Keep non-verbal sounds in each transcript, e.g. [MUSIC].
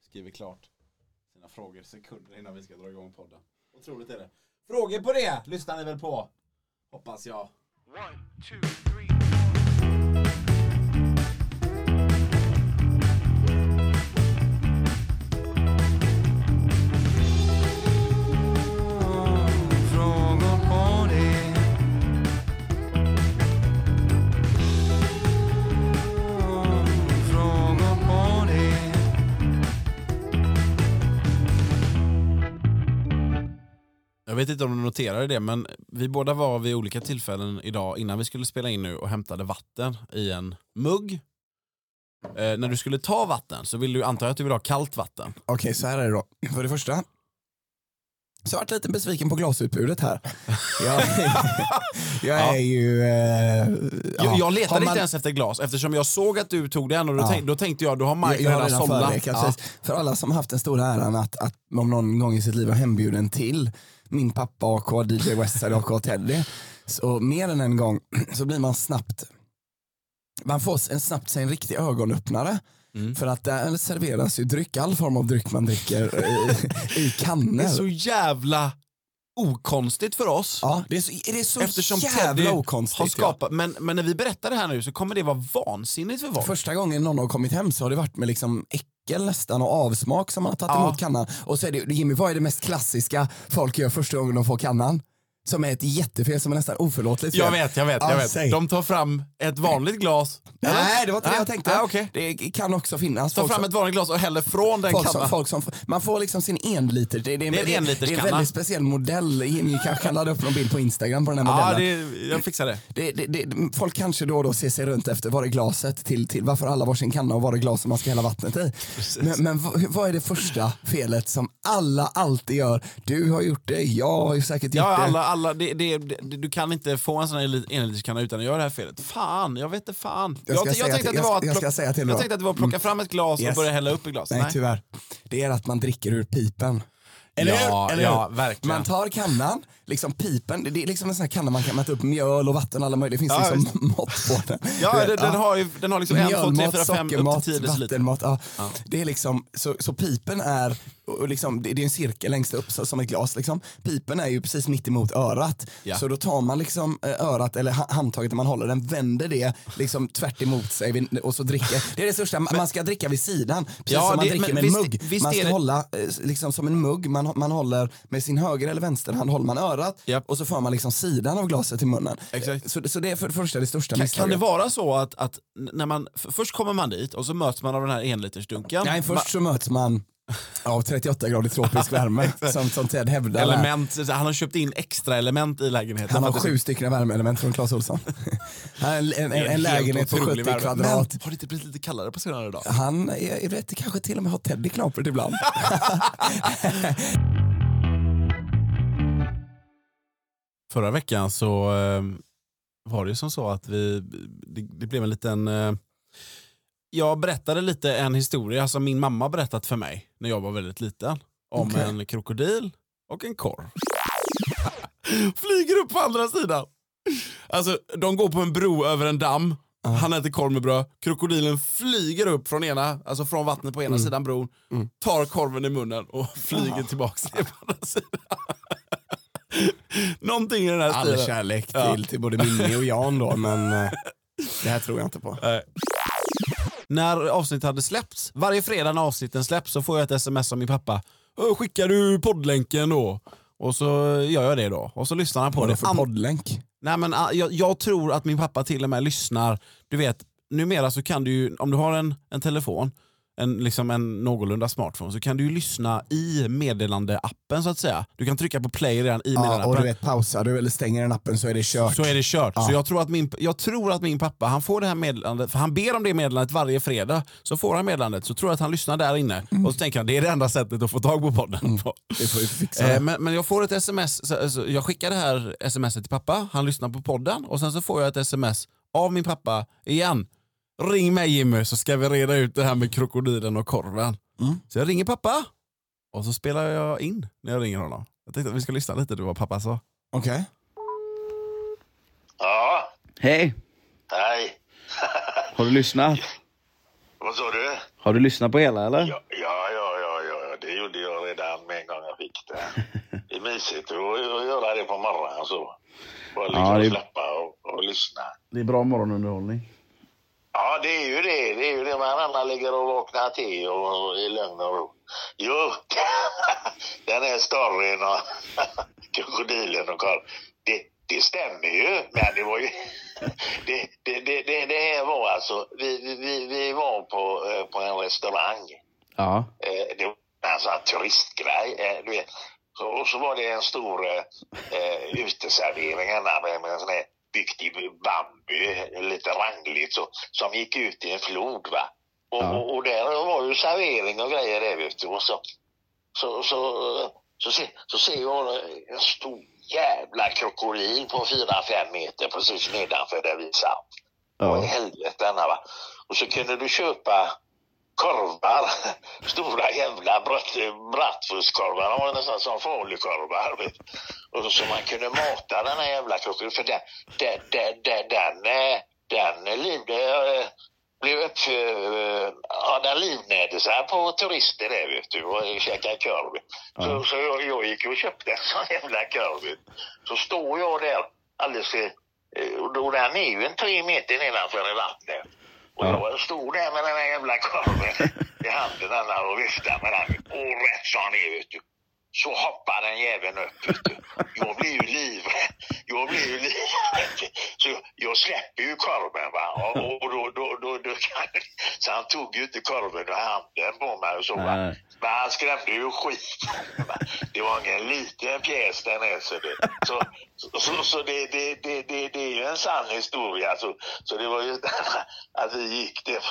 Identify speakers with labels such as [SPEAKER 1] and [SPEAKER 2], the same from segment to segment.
[SPEAKER 1] skriver klart sina frågor sekunder innan vi ska dra igång podden. Otroligt är det. Frågor på det lyssnar ni väl på? Hoppas jag.
[SPEAKER 2] One, two, three, four.
[SPEAKER 3] Frågor på det. Frågor på det.
[SPEAKER 4] Jag vet inte om du noterade det, men vi båda var vid olika tillfällen idag innan vi skulle spela in nu och hämtade vatten i en mugg. Eh, när du skulle ta vatten så ville du anta att du ville ha kallt vatten.
[SPEAKER 5] Okej, så här är det då. För det första så har jag varit lite besviken på glasutbudet här. Jag, jag är
[SPEAKER 4] Ja.
[SPEAKER 5] ju... Eh,
[SPEAKER 4] Jag,
[SPEAKER 5] ja.
[SPEAKER 4] jag
[SPEAKER 5] Har
[SPEAKER 4] letade
[SPEAKER 5] man-
[SPEAKER 4] inte ens efter glas eftersom jag såg att du tog den och då,
[SPEAKER 5] Ja.
[SPEAKER 4] tänk, då tänkte jag då har Mike
[SPEAKER 5] jag, jag har
[SPEAKER 4] redan
[SPEAKER 5] redan
[SPEAKER 4] somnat.
[SPEAKER 5] förverkat, precis. För alla som haft den stora äran att, att om någon gång i sitt liv har hembjuden till min pappa AK, DJ Westside AK Teddy. Så mer än en gång [CLEARS THROAT] så blir man snabbt man får en snabbt sig en riktig ögonöppnare. För att där serveras ju dryck, all form av dryck man dricker i, [LAUGHS] i kannor.
[SPEAKER 4] Det är så jävla okonstigt för oss.
[SPEAKER 5] Ja, det är så, det är så
[SPEAKER 4] Eftersom
[SPEAKER 5] jävla
[SPEAKER 4] Teddy
[SPEAKER 5] okonstigt.
[SPEAKER 4] har skapat, men, men när vi berättar det här nu så kommer det vara vansinnigt för
[SPEAKER 5] ja.
[SPEAKER 4] folk.
[SPEAKER 5] Första gången någon har kommit hem så har det varit med liksom äckel nästan och avsmak som man har tagit
[SPEAKER 4] Ja.
[SPEAKER 5] emot kannan. Och så är det, Jimmy, vad är det mest klassiska folk gör första gången de får kannan? Som är ett jättefel som är nästan oförlåtligt.
[SPEAKER 4] Jag
[SPEAKER 5] fel.
[SPEAKER 4] vet, jag vet,
[SPEAKER 5] Ja,
[SPEAKER 4] jag vet.
[SPEAKER 5] säg.
[SPEAKER 4] De tar fram ett vanligt glas.
[SPEAKER 5] Nej, det var inte det
[SPEAKER 4] Ah,
[SPEAKER 5] jag tänkte.
[SPEAKER 4] ah, okej.
[SPEAKER 5] Det kan också finnas
[SPEAKER 4] Ta
[SPEAKER 5] folk
[SPEAKER 4] fram
[SPEAKER 5] som-
[SPEAKER 4] ett vanligt glas och häller från den
[SPEAKER 5] Folk som,
[SPEAKER 4] kannan.
[SPEAKER 5] folk som, man får liksom sin enliter. Det, det,
[SPEAKER 4] Det är en
[SPEAKER 5] det är en
[SPEAKER 4] enliterskanna.
[SPEAKER 5] väldigt speciell modell. Jimmy kanske kan ladda upp någon bild på Instagram på den här modellen.
[SPEAKER 4] Ja, det, jag fixar det.
[SPEAKER 5] Det, det, det, folk kanske då och då ser sig runt efter, var är glaset till, till varför alla varsin kanna och var är glaset man ska hälla vattnet i? Men, men vad, vad är det första felet som alla alltid gör? Du har gjort det, jag har ju säkert gjort
[SPEAKER 4] Ja,
[SPEAKER 5] det.
[SPEAKER 4] alla, alla, det, det, det, du kan inte få en sån här enliterskanna utan att göra det här felet. Fan, jag vet inte fan.
[SPEAKER 5] Jag ska
[SPEAKER 4] jag,
[SPEAKER 5] säga
[SPEAKER 4] tänkte
[SPEAKER 5] till-
[SPEAKER 4] att det var
[SPEAKER 5] jag-
[SPEAKER 4] att
[SPEAKER 5] jag ska
[SPEAKER 4] plocka-
[SPEAKER 5] säga
[SPEAKER 4] jag
[SPEAKER 5] till då.
[SPEAKER 4] tänkte att det var att plocka fram ett glas och
[SPEAKER 5] Yes.
[SPEAKER 4] börja hälla upp i glaset.
[SPEAKER 5] Nej, tyvärr. Det är att man dricker ur pipen. Eller
[SPEAKER 4] ja,
[SPEAKER 5] hur? Eller
[SPEAKER 4] ja,
[SPEAKER 5] hur?
[SPEAKER 4] verkligen.
[SPEAKER 5] Man tar kannan, liksom pipen, det det är liksom en sån här kanna man kan mäta upp mjöl och vatten och alla möjliga, det finns
[SPEAKER 4] Ja,
[SPEAKER 5] liksom [LAUGHS] mått på den. Du [LAUGHS]
[SPEAKER 4] ja,
[SPEAKER 5] vet,
[SPEAKER 4] den, den har ju den har liksom en, två, tre, fyra,
[SPEAKER 5] Mjölmat,
[SPEAKER 4] fem, upp
[SPEAKER 5] sockermat,
[SPEAKER 4] till tio deciliter.
[SPEAKER 5] vattenmat. Ja. Det är liksom, så, så pipen är, och och liksom, det det är en cirkel längst upp så, som ett glas. Liksom. Pipen är ju precis mitt emot örat.
[SPEAKER 4] Ja.
[SPEAKER 5] Så då tar man liksom eh, örat eller ha- handtaget där man håller den, vänder det liksom tvärt emot sig vid- och så dricker. Det är det största, man man ska dricka vid sidan. Precis
[SPEAKER 4] Ja,
[SPEAKER 5] som man
[SPEAKER 4] det- men
[SPEAKER 5] dricker med en
[SPEAKER 4] visst-
[SPEAKER 5] mugg.
[SPEAKER 4] visst
[SPEAKER 5] man
[SPEAKER 4] är
[SPEAKER 5] ska
[SPEAKER 4] det-
[SPEAKER 5] hålla eh, liksom som en mugg, man, man håller med sin höger eller vänster hand håller man örat
[SPEAKER 4] Japp.
[SPEAKER 5] och så för man liksom sidan av glaset till munnen.
[SPEAKER 4] Exakt.
[SPEAKER 5] Så, så det är för det första det största
[SPEAKER 4] Kan, kan
[SPEAKER 5] misstaget.
[SPEAKER 4] det vara så att, att när man, f- först kommer man dit och så möts man av den här enlitersdunken.
[SPEAKER 5] Nej, först så möts man av 38 grader tropisk [LAUGHS] värme som, som Ted
[SPEAKER 4] Ma-
[SPEAKER 5] hävdar. här.
[SPEAKER 4] element, så han har köpt in extra element i lägenheten.
[SPEAKER 5] Han har
[SPEAKER 4] För att det-
[SPEAKER 5] sju stycken värmeelement från Clas [LAUGHS] Ohlson. Han har en, en, en,
[SPEAKER 4] det är helt
[SPEAKER 5] lägenhet på
[SPEAKER 4] otrolig
[SPEAKER 5] 70
[SPEAKER 4] värme.
[SPEAKER 5] kvadrat.
[SPEAKER 4] Men, har det inte blivit lite kallare på senare dag?
[SPEAKER 5] Han är, jag vet, kanske till och med har Ted i knapert ibland. [LAUGHS]
[SPEAKER 4] Förra veckan så eh,
[SPEAKER 5] ehm,
[SPEAKER 4] var det ju som så att vi, det, det blev en liten... Eh, jag berättade lite en historia som min mamma berättat för mig när jag var väldigt liten. Om
[SPEAKER 5] Okej.
[SPEAKER 4] en krokodil och en korv. [LAUGHS] Flyger upp på andra sidan. Alltså, de går på en bro över en damm. Han äter korv med bröd. Krokodilen flyger upp från ena, alltså från vattnet på ena
[SPEAKER 5] Mm.
[SPEAKER 4] sidan bron. Tar korven i munnen och
[SPEAKER 5] Ah.
[SPEAKER 4] flyger tillbaks till andra sidan. [LAUGHS] Någonting i den här stilen.
[SPEAKER 5] kärlek
[SPEAKER 4] Ja.
[SPEAKER 5] till både Mimmi och Jan då, men [LAUGHS] eh, det här tror jag inte på.
[SPEAKER 4] När avsnittet hade släppts, varje fredag när avsnitten släpps så får jag ett sms av min pappa. "Ö, Skickar du poddlänken då? Och så gör jag det då. Och så lyssnar han på
[SPEAKER 5] Vad är
[SPEAKER 4] det.
[SPEAKER 5] det för
[SPEAKER 4] An-
[SPEAKER 5] poddlänk?
[SPEAKER 4] Nej, men, ah, jag, jag tror att min pappa till och med lyssnar. Du vet, numera så kan du ju, om du har en, en telefon, en, liksom en någorlunda smartphone, så kan du ju lyssna i meddelandeappen så att säga. Du kan trycka på play redan i
[SPEAKER 5] Ja, och du
[SPEAKER 4] meddelandeappen.
[SPEAKER 5] vet, pausar du eller stänger den appen så är det kört.
[SPEAKER 4] Så är det kört.
[SPEAKER 5] Ja.
[SPEAKER 4] Så jag tror, att min, jag tror att min pappa, han får det här meddelandet, för han ber om det meddelandet varje fredag. Så får han meddelandet, så tror jag att han lyssnar där inne. Och så tänker han, det är det enda sättet att få tag på podden. på.
[SPEAKER 5] Vi får ju fixa det.
[SPEAKER 4] Eh, men, men jag får ett sms, så, så, jag skickar det här smset till pappa, han lyssnar på podden och sen så får jag ett sms av min pappa igen. Ring mig Jimmy så ska vi reda ut det här med krokodilen och korven. Så jag ringer pappa och så spelar jag in när jag ringer honom. Jag tänkte att vi ska lyssna lite du vad pappa sa.
[SPEAKER 5] Okej.
[SPEAKER 6] Ja,
[SPEAKER 7] Hej!
[SPEAKER 6] hej.
[SPEAKER 7] Har du lyssnat?
[SPEAKER 6] Vad sa du?
[SPEAKER 7] Har du lyssnat på hela eller?
[SPEAKER 6] Ja, ja, ja, ja, jag redan med en gång jag fick
[SPEAKER 7] [LAUGHS]
[SPEAKER 6] det. Det är mysigt att att göra det på morgonen så. Bara liksom
[SPEAKER 7] Ja, det-
[SPEAKER 6] släppa och, och lyssna.
[SPEAKER 7] Det är bra morgonunderhållning.
[SPEAKER 6] Ja, det är ju det. Det är ju det. Man annan ligger och vaknar till och, och i lugn och ro. Jo, [LAUGHS] den är större än och- [LAUGHS] krokodilen och Karl. Det, det stämmer ju, men det var ju... [LAUGHS] Det, det, det, det, det här var alltså... Vi, vi- vi, vi var på, eh, på en restaurang.
[SPEAKER 7] Ja.
[SPEAKER 6] Eh, det var en sån här turistgrej. Eh, du vet. Så, och så var det en stor eh, eh, uteservering här med, med en sån här byggt i bambu, lite rangligt, så, som gick ut i en flod. Va? Och,
[SPEAKER 7] Ja.
[SPEAKER 6] och, och där var ju servering och grejer där vet du. Och så, så, så, eh, så, ser, så ser jag en stor jävla krokodil på 4-5 meter precis nedanför där vi satt. Vad i
[SPEAKER 7] ja.
[SPEAKER 6] helvete Anna, va? Och så kunde du köpa korvar. [LAUGHS] Stora jävla brat- bratwurstkorvar. De var nästan som falukorvar. vet. Och så man kunde mata den här jävla krokodil. För den, den, den, den, den, eh, den livde, eh, blev upp, eh, ja, den livnärde sig på turister där vet du och käkade korv. Så, så jag, jag gick och köpte en sån jävla korv. vet du. Så står jag där alldeles i- eh, och då den är ju en tre meter nedanför i vattnet. Och jag stod där med den här jävla korven i handen den här och viftade med den. Och rätt som det är, vet du. Så hoppar den jäveln upp. Vet du. Jag blir ju livrädd. Jag blir ju livrädd. Så jag- jag släpper ju korven. Va? Och, och då, då, då, då, så han tog ju inte korven ur handen på mig. Och så, va?
[SPEAKER 7] Nej.
[SPEAKER 6] Men han skrämde ju skit. Det var ingen liten pjäs den är. Så det, så, så, så, så det, det, det, det, det är ju en sann historia. Så, så det var ju [LAUGHS] inte att vi gick det [LAUGHS]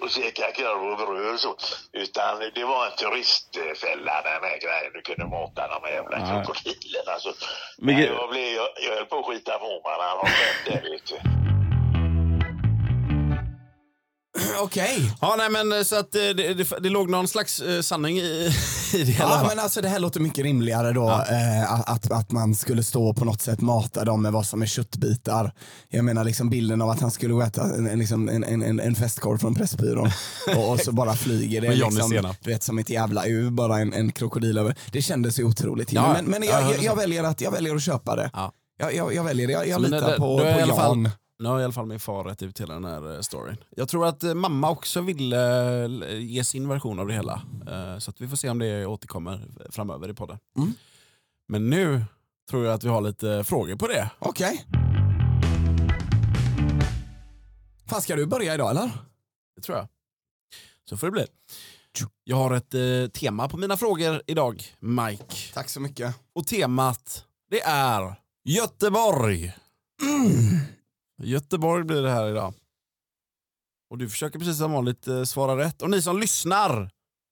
[SPEAKER 6] och käkade korv och bröd och så. Utan det var en turistfälla den här grejen. Du kunde mata de här jävla
[SPEAKER 7] Ja.
[SPEAKER 6] krokodilerna. Så,
[SPEAKER 7] Men-
[SPEAKER 6] Nej, jag, blev, jag, jag höll på att skita på mig när han var skämt där ute.
[SPEAKER 5] [CLEARS THROAT] Okej.
[SPEAKER 4] Ja, nej men eh, så att eh, det, det, det låg någon slags eh, sanning i, [LAUGHS] i det hela.
[SPEAKER 5] Ja,
[SPEAKER 4] va?
[SPEAKER 5] men alltså det här låter mycket rimligare då. Eh, att- att, att man skulle stå och på något sätt mata dem med vad som är köttbitar. Jag menar liksom bilden av att han skulle gå och äta en, en, liksom en, en- en, en festkorv från Pressbyrån
[SPEAKER 4] [LAUGHS]
[SPEAKER 5] och, och så bara flyger det
[SPEAKER 4] Med Johnny
[SPEAKER 5] liksom,
[SPEAKER 4] senap.
[SPEAKER 5] du vet, som ett jävla U, bara en, en krokodil över. Det kändes ju otroligt.
[SPEAKER 4] Ja,
[SPEAKER 5] men men
[SPEAKER 4] ja,
[SPEAKER 5] jag, jag,
[SPEAKER 4] 100%.
[SPEAKER 5] jag, väljer att, jag väljer att köpa det.
[SPEAKER 4] Ja.
[SPEAKER 5] Jag, jag, jag väljer det. Jag, jag
[SPEAKER 4] Men
[SPEAKER 5] litar
[SPEAKER 4] det-
[SPEAKER 5] på,
[SPEAKER 4] då
[SPEAKER 5] på
[SPEAKER 4] är i alla fall,
[SPEAKER 5] Jan.
[SPEAKER 4] Nu har i alla fall min far rätt ut hela den här eh, storyn. Jag tror att eh, mamma också ville eh, ge sin version av det hela. Eh, Så att vi får se om det återkommer eh, framöver i podden.
[SPEAKER 5] Mm.
[SPEAKER 4] Men nu tror jag att vi har lite frågor på det.
[SPEAKER 5] Okej. Fan, ska du börja idag eller?
[SPEAKER 4] Det tror jag. Så får det bli. Jag har ett eh, tema på mina frågor idag, Mike.
[SPEAKER 5] Tack så mycket.
[SPEAKER 4] Och temat, det är Göteborg.
[SPEAKER 5] Mm.
[SPEAKER 4] Göteborg blir det här idag. Och du försöker precis som vanligt eh, svara rätt. Och ni som lyssnar,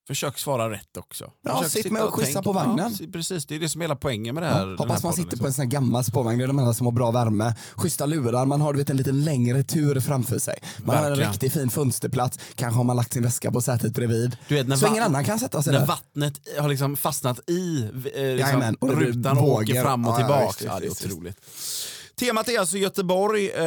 [SPEAKER 4] försök svara rätt också.
[SPEAKER 5] Ja,
[SPEAKER 4] Försök
[SPEAKER 5] sitt
[SPEAKER 4] sitta
[SPEAKER 5] med och quizza
[SPEAKER 4] tänk.
[SPEAKER 5] på vagnen.
[SPEAKER 4] Ja, precis, det är det som är hela poängen med det här. den här
[SPEAKER 5] Hoppas
[SPEAKER 4] podden,
[SPEAKER 5] man sitter
[SPEAKER 4] liksom.
[SPEAKER 5] på en sån här gammal spårvagn, det är de här som har bra värme, schyssta lurar, man har du vet, en liten längre tur framför sig. Man har
[SPEAKER 4] Verkligen.
[SPEAKER 5] en riktigt fin fönsterplats, kanske har man lagt sin väska på sätet bredvid.
[SPEAKER 4] Du vet, när
[SPEAKER 5] så
[SPEAKER 4] va-
[SPEAKER 5] ingen annan kan sätta sig
[SPEAKER 4] När
[SPEAKER 5] där.
[SPEAKER 4] vattnet har liksom fastnat i eh, liksom,
[SPEAKER 5] Jajamän, och det blir
[SPEAKER 4] rutan och åker
[SPEAKER 5] vågor.
[SPEAKER 4] fram och
[SPEAKER 5] Ja, ja,
[SPEAKER 4] tillbaka. Ja,
[SPEAKER 5] visst, visst,
[SPEAKER 4] det är
[SPEAKER 5] visst,
[SPEAKER 4] otroligt. Temat är alltså Göteborg. Eh,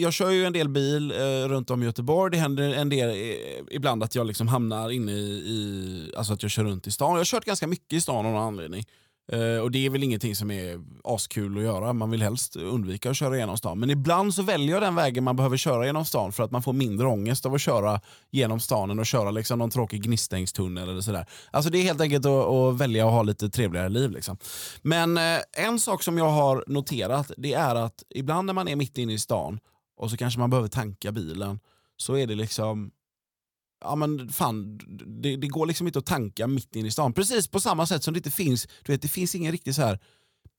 [SPEAKER 4] Jag kör ju en del bil eh, runt om i Göteborg. Det händer en del eh, ibland att jag liksom hamnar inne i, i, alltså att jag kör runt i stan. Jag har kört ganska mycket i stan av någon anledning. Eh, Och det är väl ingenting som är askul att göra. Man vill helst undvika att köra genom stan. Men ibland så väljer jag den vägen man behöver köra genom stan för att man får mindre ångest av att köra genom stanen och köra liksom någon tråkig gnistängstunnel eller sådär. Alltså det är helt enkelt att, att välja att ha lite trevligare liv. Liksom. Men eh, en sak som jag har noterat det är att ibland när man är mitt inne i stan och så kanske man behöver tanka bilen så är det liksom Ja men fan, det, det går liksom inte att tanka mitt inne i stan. Precis på samma sätt som det inte finns, du vet det finns ingen riktig så här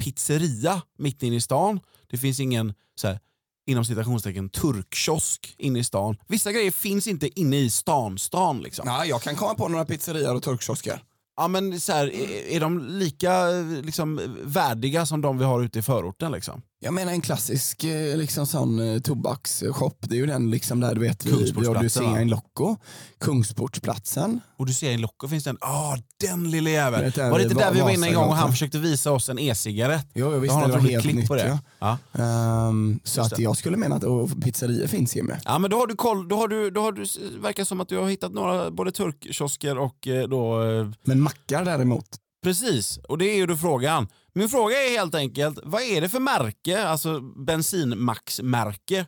[SPEAKER 4] pizzeria mitt inne i stan. Det finns ingen så här, inom citationstecken turkkiosk inne i stan. Vissa grejer finns inte inne i stan, stan liksom.
[SPEAKER 5] Ja, jag kan komma på några pizzerior och turkkiosker.
[SPEAKER 4] Ja, men så här, är, är de lika eh, liksom, värdiga som de vi har ute i förorten? Liksom?
[SPEAKER 5] Jag menar en klassisk eh, liksom sån eh, tobaksshop. Det är ju den liksom där du vet vi, vi har
[SPEAKER 4] Kungsportsplatsen,
[SPEAKER 5] du ser
[SPEAKER 4] va?
[SPEAKER 5] en Locco. Kungsportsplatsen.
[SPEAKER 4] Och du ser en Locko finns det en, ah den lille
[SPEAKER 5] Vet du,
[SPEAKER 4] jäveln. Var det inte
[SPEAKER 5] Va-
[SPEAKER 4] där vi var inne en gång och
[SPEAKER 5] Vasagatan?
[SPEAKER 4] han försökte visa oss en e-cigarett?
[SPEAKER 5] Jo, jag
[SPEAKER 4] Jag
[SPEAKER 5] visste
[SPEAKER 4] har
[SPEAKER 5] det var
[SPEAKER 4] något roligt
[SPEAKER 5] helt
[SPEAKER 4] klipp
[SPEAKER 5] nytt.
[SPEAKER 4] på det.
[SPEAKER 5] Ja.
[SPEAKER 4] Ja.
[SPEAKER 5] Ehm, så
[SPEAKER 4] Just
[SPEAKER 5] att
[SPEAKER 4] det.
[SPEAKER 5] jag skulle mena att och pizzerior finns Jimmy.
[SPEAKER 4] Ja men då har du koll, då har du, då har du, verkar som att du har hittat några både turkkiosker och eh, då eh,
[SPEAKER 5] Men mackar däremot.
[SPEAKER 4] Precis, och det är ju då frågan. Min fråga är helt enkelt, vad är det för märke, alltså bensinmaxmärke,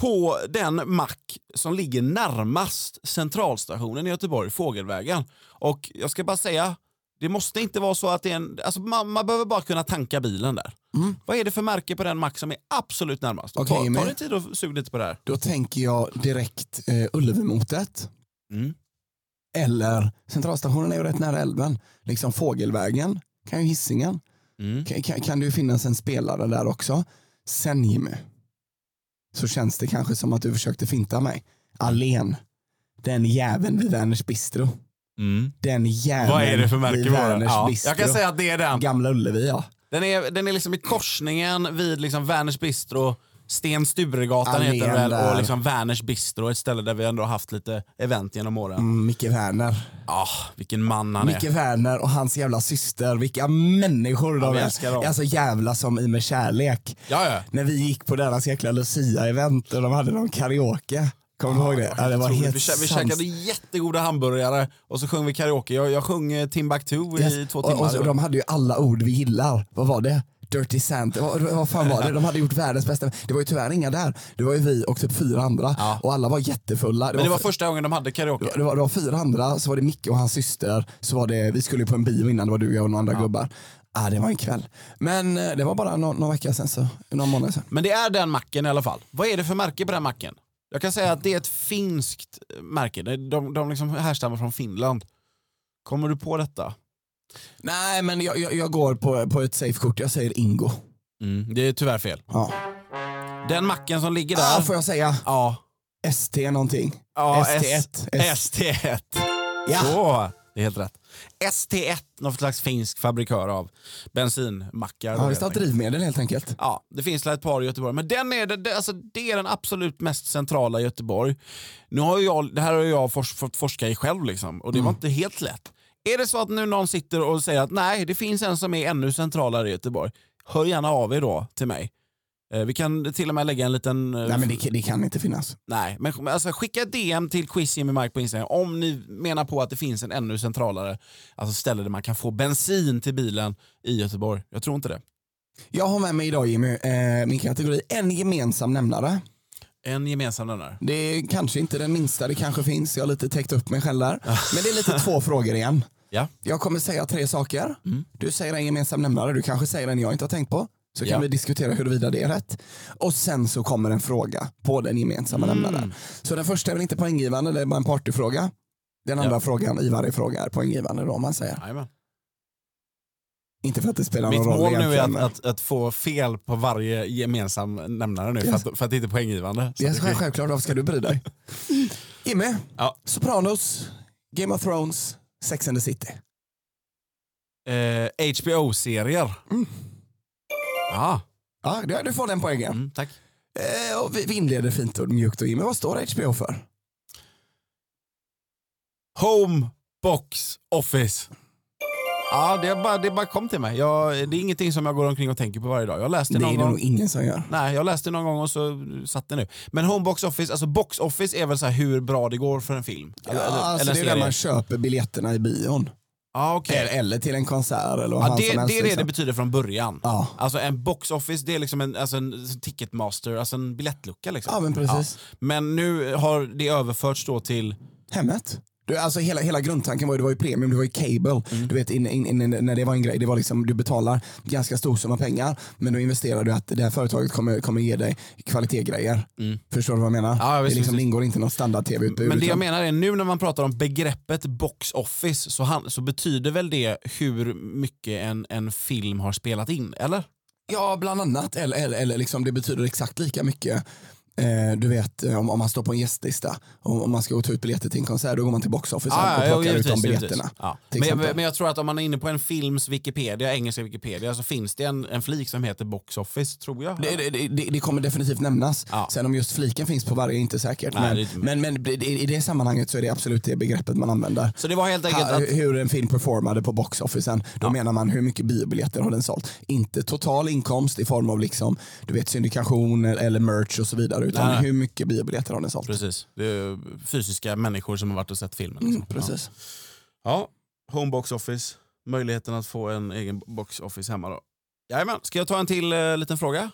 [SPEAKER 4] på den mack som ligger närmast centralstationen i Göteborg, Fågelvägen? Och jag ska bara säga, det måste inte vara så att det är en, alltså man, man behöver bara kunna tanka bilen där.
[SPEAKER 5] Mm.
[SPEAKER 4] Vad är det för märke på den mack som är absolut närmast? Och
[SPEAKER 5] Okej,
[SPEAKER 4] ta, ta
[SPEAKER 5] Emil.
[SPEAKER 4] din tid och sug lite på det här.
[SPEAKER 5] Då tänker jag direkt eh, Ullevimontet.
[SPEAKER 4] Mm.
[SPEAKER 5] Eller centralstationen är ju rätt nära älven. Liksom Fågelvägen kan ju Hisingen.
[SPEAKER 4] Mm.
[SPEAKER 5] Kan, kan, kan det ju finnas en spelare där också. Sen Jimmy. Så känns det kanske som att du försökte finta mig. Allén. Den jäveln vid Werners bistro.
[SPEAKER 4] Mm.
[SPEAKER 5] Den jäveln
[SPEAKER 4] Vad är det för
[SPEAKER 5] vid
[SPEAKER 4] märke på den?
[SPEAKER 5] Werners
[SPEAKER 4] Ja,
[SPEAKER 5] bistro.
[SPEAKER 4] jag kan säga att det är den.
[SPEAKER 5] Gamla Ullevi ja.
[SPEAKER 4] Den är, den är liksom i korsningen vid liksom Werners Bistro, Sten Sturegatan
[SPEAKER 5] Allén
[SPEAKER 4] heter den väl,
[SPEAKER 5] där.
[SPEAKER 4] och liksom Werners Bistro, ett ställe där vi ändå har haft lite event genom åren.
[SPEAKER 5] Mm, Micke Werner.
[SPEAKER 4] Ah, vilken man han
[SPEAKER 5] Micke
[SPEAKER 4] är.
[SPEAKER 5] Werner och hans jävla syster. Vilka människor
[SPEAKER 4] Ja,
[SPEAKER 5] de
[SPEAKER 4] vi älskar dem.
[SPEAKER 5] är. Alltså jävla som i med kärlek.
[SPEAKER 4] Ja, ja.
[SPEAKER 5] när vi gick på deras jäkla Lucia-event och de hade någon karaoke. Kommer du ihåg det? Ja, det var
[SPEAKER 4] Otroligt.
[SPEAKER 5] helt
[SPEAKER 4] vi, kä- vi
[SPEAKER 5] sans-
[SPEAKER 4] käkade jättegoda hamburgare och så sjöng vi karaoke. Jag, jag sjöng eh, Timbuktu i
[SPEAKER 5] Yes.
[SPEAKER 4] två
[SPEAKER 5] och,
[SPEAKER 4] timmar.
[SPEAKER 5] och, så- och de hade ju alla ord vi gillar. Vad var det? Dirty Santa, vad, vad fan var det? De hade gjort världens bästa. Det var ju tyvärr inga där. Det var ju vi och typ fyra andra
[SPEAKER 4] Ja.
[SPEAKER 5] och alla var jättefulla.
[SPEAKER 4] Men det var första gången de hade karaoke.
[SPEAKER 5] Det var, det var fyra andra, så var det Micke och hans syster, så var det, vi skulle ju på en bio innan, det var du och jag och några andra gubbar. Ah, det var en kväll. Men eh, det var bara någon, någon vecka sedan, så, någon månad sedan.
[SPEAKER 4] Men det är den macken i alla fall. Vad är det för märke på den macken? Jag kan säga att det är ett finskt eh, märke. De, de, de liksom härstammar från Finland. Kommer du på detta?
[SPEAKER 5] Nej, men jag, jag, jag går på, på ett safe kort, jag säger Ingo.
[SPEAKER 4] Mm, det är tyvärr fel.
[SPEAKER 5] Ja.
[SPEAKER 4] Den macken som ligger där.
[SPEAKER 5] Ah, får jag säga
[SPEAKER 4] Ja.
[SPEAKER 5] ST någonting?
[SPEAKER 4] ja S-
[SPEAKER 5] ST1.
[SPEAKER 4] ST1.
[SPEAKER 5] Ja.
[SPEAKER 4] Så, det är helt rätt. ST1, någon slags finsk fabrikör av bensinmackar.
[SPEAKER 5] Ja,
[SPEAKER 4] då,
[SPEAKER 5] visst
[SPEAKER 4] helt
[SPEAKER 5] har
[SPEAKER 4] enkelt.
[SPEAKER 5] drivmedel helt enkelt.
[SPEAKER 4] Ja, det finns väl ett par i Göteborg, men den är, det- det, alltså, det är den absolut mest centrala i Göteborg. Nu har ju jag, det här har ju jag fors, fått forska i själv liksom, och det
[SPEAKER 5] Mm.
[SPEAKER 4] var inte helt lätt. Är det så att nu någon sitter och säger att nej, det finns en som är ännu centralare i Göteborg, hör gärna av er då till mig. Eh, Vi kan till och med lägga en liten... eh,
[SPEAKER 5] Nej men det, det kan inte finnas.
[SPEAKER 4] Nej, men men alltså, skicka ett DM till Quiz Jimmy Mike på Instagram om ni menar på att det finns en ännu centralare alltså ställe där man kan få bensin till bilen i Göteborg. Jag tror inte det.
[SPEAKER 5] Jag har med mig idag Jimmy, eh, min kategori, en gemensam nämnare.
[SPEAKER 4] En gemensam nämnare.
[SPEAKER 5] Det är kanske inte den minsta det kanske finns, jag har lite täckt upp mig själv där. Men det är lite
[SPEAKER 4] [LAUGHS]
[SPEAKER 5] två frågor igen.
[SPEAKER 4] Ah. Ja. Mm.
[SPEAKER 5] Jag kommer säga tre saker. Du säger en gemensam nämnare, du kanske säger en jag inte har tänkt på. Så kan
[SPEAKER 4] Ja.
[SPEAKER 5] vi diskutera huruvida det är rätt. Och sen så kommer en fråga på den gemensamma
[SPEAKER 4] Mm.
[SPEAKER 5] nämnaren. Så den första är väl inte poänggivande, det är bara en partyfråga. Den andra frågan i varje fråga är poänggivande då om man säger.
[SPEAKER 4] Jajamän.
[SPEAKER 5] Inte för att det spelar någon
[SPEAKER 4] Mitt
[SPEAKER 5] roll
[SPEAKER 4] mål nu är
[SPEAKER 5] egentligen,
[SPEAKER 4] att,
[SPEAKER 5] men-
[SPEAKER 4] att, att få fel på varje gemensam nämnare nu
[SPEAKER 5] Yes.
[SPEAKER 4] för, att, för att det inte är poänggivande. Så
[SPEAKER 5] Ja,
[SPEAKER 4] att det-
[SPEAKER 5] själv- självklart, varför ska du
[SPEAKER 4] [LAUGHS]
[SPEAKER 5] bry dig? Jimmy,
[SPEAKER 4] Ja.
[SPEAKER 5] Sopranos, Game of Thrones, Sex and the City.
[SPEAKER 4] eh, HBO-serier.
[SPEAKER 5] Mm.
[SPEAKER 4] Ja,
[SPEAKER 5] Ja, du- du får den poängen.
[SPEAKER 4] mm, tack.
[SPEAKER 5] Eh, och vi, vi inleder fint och mjukt och Jimmy, vad står HBO för?
[SPEAKER 4] Home Box Office. Ja, det bara, det bara kom till mig. Jag, det är ingenting som jag går omkring och tänker på varje dag. Jag läste
[SPEAKER 5] Det
[SPEAKER 4] någon
[SPEAKER 5] är det
[SPEAKER 4] gång.
[SPEAKER 5] nog ingen som gör.
[SPEAKER 4] Nej, jag läste någon gång och så satt det nu. Men home box office, alltså box office är väl så här hur bra det går för en film?
[SPEAKER 5] Ja, alltså
[SPEAKER 4] en
[SPEAKER 5] det är där
[SPEAKER 4] serie.
[SPEAKER 5] man köper biljetterna i bion.
[SPEAKER 4] Ja, okej.
[SPEAKER 5] Eller, eller till en konsert eller vad
[SPEAKER 4] Ja,
[SPEAKER 5] fan
[SPEAKER 4] det,
[SPEAKER 5] som helst.
[SPEAKER 4] det är det det
[SPEAKER 5] liksom.
[SPEAKER 4] betyder från början.
[SPEAKER 5] Ja.
[SPEAKER 4] Alltså en box office, det är liksom en, alltså en ticketmaster, alltså en biljettlucka liksom.
[SPEAKER 5] Ja, men precis.
[SPEAKER 4] Men nu har det överförts då till,
[SPEAKER 5] Hemmet. Du, alltså hela, hela grundtanken var ju, det var ju premium, det var ju cable.
[SPEAKER 4] Mm.
[SPEAKER 5] Du vet, in, in, in, när det var en grej, det var liksom, du betalar ganska stor summa pengar, men då investerar du att det här företaget kommer, kommer ge dig kvalitetgrejer. Förstår du vad jag menar?
[SPEAKER 4] Mm. Ja,
[SPEAKER 5] det, är
[SPEAKER 4] visst,
[SPEAKER 5] liksom,
[SPEAKER 4] visst.
[SPEAKER 5] det ingår inte något standard-tv-utbud.
[SPEAKER 4] men det jag
[SPEAKER 5] utan-
[SPEAKER 4] menar är nu när man pratar om begreppet box office så, han, så betyder väl det hur mycket en, en film har spelat in, eller?
[SPEAKER 5] Ja, bland annat. Eller, eller, eller liksom, det betyder exakt lika mycket eh, du vet, eh, om, om man står på en gästlista, om, om man ska gå och ta ut biljetter till en konsert, då går man till box office
[SPEAKER 4] Ja,
[SPEAKER 5] och
[SPEAKER 4] ja,
[SPEAKER 5] plockar ut
[SPEAKER 4] givetvis,
[SPEAKER 5] de
[SPEAKER 4] givetvis.
[SPEAKER 5] biljetterna.
[SPEAKER 4] Ja.
[SPEAKER 5] till
[SPEAKER 4] Men, jag,
[SPEAKER 5] exempel.
[SPEAKER 4] men jag tror att om man är inne på en films Wikipedia, engelska Wikipedia, så finns det en, en flik som heter Box Office, tror jag.
[SPEAKER 5] Det, det- det, det, det kommer definitivt nämnas.
[SPEAKER 4] Ja.
[SPEAKER 5] Sen om just fliken finns på varje är inte säkert.
[SPEAKER 4] Nej,
[SPEAKER 5] men,
[SPEAKER 4] det är inte-
[SPEAKER 5] men, men i- i det sammanhanget så är det absolut det begreppet man använder.
[SPEAKER 4] Så det var helt enkelt
[SPEAKER 5] Ha, eh,
[SPEAKER 4] att...
[SPEAKER 5] Hur en film performade på boxofficen. Då
[SPEAKER 4] Ja.
[SPEAKER 5] menar man hur mycket biobiljetter har den sålt. Inte total inkomst i form av liksom, du vet, syndikation eller merch och så vidare. Utan
[SPEAKER 4] Nej, nej.
[SPEAKER 5] hur mycket biobiljetter har den sålt.
[SPEAKER 4] Precis. Det är fysiska människor som har varit och sett filmen. Liksom.
[SPEAKER 5] Mm, precis.
[SPEAKER 4] Ja. ja, home box office. Möjligheten att få en egen box office hemma då. Jajamän, ska jag ta en till eh, liten fråga?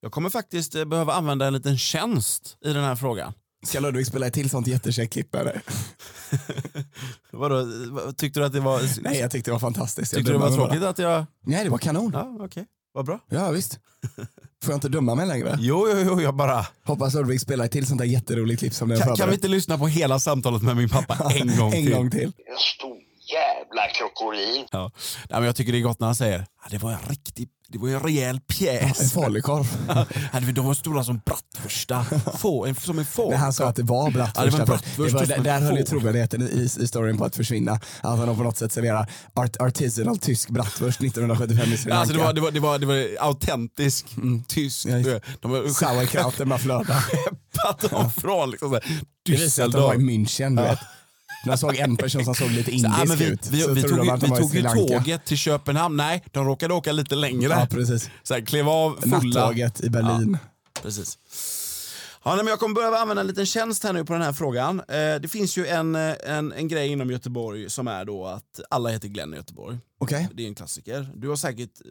[SPEAKER 4] Jag kommer faktiskt eh, behöva använda en liten tjänst i den här frågan.
[SPEAKER 5] Ska Ludvig spela ett till sånt jättekäckt klipp eller?
[SPEAKER 4] [LAUGHS] Vadå, eh, vad- tyckte du att det var...
[SPEAKER 5] Nej, jag tyckte det var fantastiskt. Jag
[SPEAKER 4] tyckte du det var
[SPEAKER 5] dummar mig
[SPEAKER 4] tråkigt att jag...
[SPEAKER 5] bara. Nej, det var kanon. Ja.
[SPEAKER 4] Ja, okej. Vad bra.
[SPEAKER 5] visst. Får jag inte döma mig längre?
[SPEAKER 4] Jo, jo, jo, jag bara...
[SPEAKER 5] Hoppas Ludvig spelar ett till sånt där jätteroligt klipp som den
[SPEAKER 4] Kan, kan vi
[SPEAKER 5] förberedde.
[SPEAKER 4] inte lyssna på hela samtalet med min [LAUGHS] pappa en gång
[SPEAKER 5] [LAUGHS] en
[SPEAKER 4] till?
[SPEAKER 5] gång till.
[SPEAKER 6] En stor jävla krokodil.
[SPEAKER 4] Ja. Nej, men jag tycker det är gott när han säger ja, det var en riktig, det var en rejäl
[SPEAKER 5] En
[SPEAKER 4] pjäs.
[SPEAKER 5] falukorv.
[SPEAKER 4] [LAUGHS] Ja, det- de var stora som bratwurstar, få, en, som en får.
[SPEAKER 5] Men han sa att det var
[SPEAKER 4] Ja, det var en
[SPEAKER 5] bratwurst.
[SPEAKER 4] bratwurst
[SPEAKER 5] det var,
[SPEAKER 4] som
[SPEAKER 5] där,
[SPEAKER 4] en
[SPEAKER 5] där höll ju
[SPEAKER 4] får.
[SPEAKER 5] trovärdigheten i, i storyn på att försvinna. Att han på något sätt serverar art, artisanal tysk bratwurst 1975 i Sri
[SPEAKER 4] Ja,
[SPEAKER 5] Lanka.
[SPEAKER 4] Alltså det, var, det, var, det, var, det var autentisk tysk.
[SPEAKER 5] Mm, Ja, just-
[SPEAKER 4] De var [LAUGHS]
[SPEAKER 5] Sauerkrauten bara flödade.
[SPEAKER 4] skeppat dem från liksom, så här
[SPEAKER 5] Det visade att de var i
[SPEAKER 4] Düsseldorf.
[SPEAKER 5] München. Du vet. De såg en person som såg lite
[SPEAKER 4] Så,
[SPEAKER 5] indisk
[SPEAKER 4] ja, men vi
[SPEAKER 5] ut.
[SPEAKER 4] vi,
[SPEAKER 5] så
[SPEAKER 4] vi
[SPEAKER 5] trodde
[SPEAKER 4] tog,
[SPEAKER 5] de
[SPEAKER 4] ju-
[SPEAKER 5] att de
[SPEAKER 4] vi
[SPEAKER 5] var i
[SPEAKER 4] tog
[SPEAKER 5] Sri
[SPEAKER 4] ju
[SPEAKER 5] Lanka.
[SPEAKER 4] tåget till Köpenhamn. Nej, de råkade åka lite längre.
[SPEAKER 5] Ja, precis.
[SPEAKER 4] så här, klev av fulla.
[SPEAKER 5] Nattåget i Berlin.
[SPEAKER 4] Precis. Ja, nej, men jag kommer behöva använda en liten tjänst här nu på den här frågan. Eh, det finns ju en, eh, en, en grej inom Göteborg som är då att alla heter Glenn i Göteborg.
[SPEAKER 5] Okej.
[SPEAKER 4] Det är en klassiker. Du har säkert eh,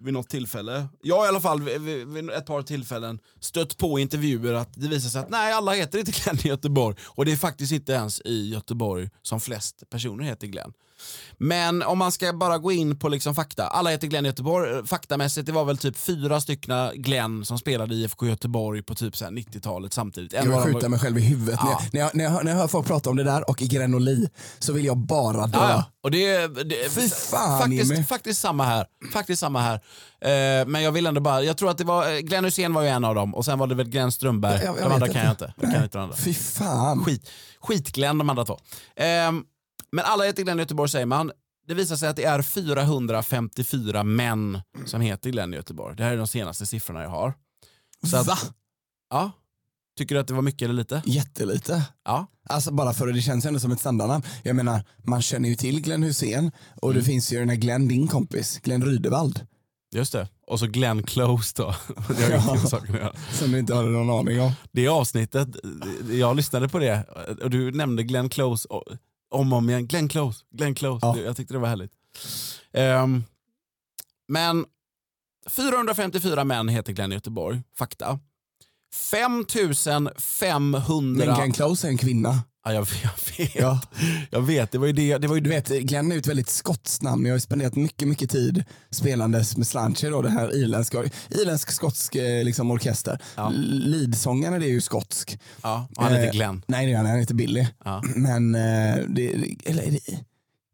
[SPEAKER 4] vid något tillfälle, jag i alla fall vid, vid, vid ett par tillfällen stött på intervjuer att det visar sig att nej alla heter inte Glenn i Göteborg och det är faktiskt inte ens i Göteborg som flest personer heter Glenn. Men om man ska bara gå in på liksom fakta, alla heter Glenn i Göteborg, faktamässigt det var väl typ fyra stycken Glenn som spelade i IFK Göteborg på typ så här 90-talet samtidigt. En
[SPEAKER 5] Jag vill
[SPEAKER 4] av dem var-
[SPEAKER 5] skjuta mig själv i huvudet.
[SPEAKER 4] Ja.
[SPEAKER 5] När, jag, när, jag, när, jag hör, när jag hör folk prata om det där och i Grenoli så vill jag bara dö.
[SPEAKER 4] Ja, ja. Och det, det,
[SPEAKER 5] Fy fan, Jimmy.
[SPEAKER 4] faktiskt, faktiskt samma här. Faktiskt samma här. Eh, men jag vill ändå bara, jag tror att det var, eh, Glenn Hysén var ju en av dem och sen var det väl Glenn Strömberg.
[SPEAKER 5] Jag- jag vet
[SPEAKER 4] de andra
[SPEAKER 5] inte.
[SPEAKER 4] kan jag inte. Jag kan inte de andra.
[SPEAKER 5] Fy fan.
[SPEAKER 4] Skit, skit-Glenn de andra två. Ehm, men alla heter Glenn i Göteborg säger man. Det visar sig att det är 454 män som heter Glenn i Göteborg. Det här är de senaste siffrorna jag har. Så att,
[SPEAKER 5] Va?
[SPEAKER 4] Ja. Tycker du att det var mycket eller lite?
[SPEAKER 5] Jättelite.
[SPEAKER 4] Ja.
[SPEAKER 5] Alltså bara för att det känns ändå som ett standardnamn. Jag menar, man känner ju till Glenn Hussein och
[SPEAKER 4] Mm.
[SPEAKER 5] det finns ju den här Glenn, din kompis, Glenn Rydevald,
[SPEAKER 4] Just det. Och så Glenn Close då. [LAUGHS] Det har ingenting med saken att göra.
[SPEAKER 5] som du inte hade någon aning om.
[SPEAKER 4] det avsnittet, jag lyssnade på det och du nämnde Glenn Close o- om och om igen. Glenn Close, Glenn Close.
[SPEAKER 5] Ja.
[SPEAKER 4] Det- Jag tyckte det var härligt. Ehm, men 454 män heter Glenn i Göteborg, fakta. 5500...
[SPEAKER 5] Men Glenn Close är en kvinna.
[SPEAKER 4] ja, jag, jag vet,
[SPEAKER 5] Ja.
[SPEAKER 4] jag vet, det var ju det. det var ju
[SPEAKER 5] Du vet, Glenn är ju ett väldigt skotskt namn. Jag har ju spenderat mycket, mycket tid spelandes med Slancher då, det här irländska, irländsk-skotsk eh, liksom, orkester.
[SPEAKER 4] Ja.
[SPEAKER 5] Leadsångaren är ju skotsk.
[SPEAKER 4] ja, och han heter
[SPEAKER 5] Eh,
[SPEAKER 4] Glenn.
[SPEAKER 5] Nej det är han, han heter Billy.
[SPEAKER 4] Ja.
[SPEAKER 5] Men eh, det, eller är det,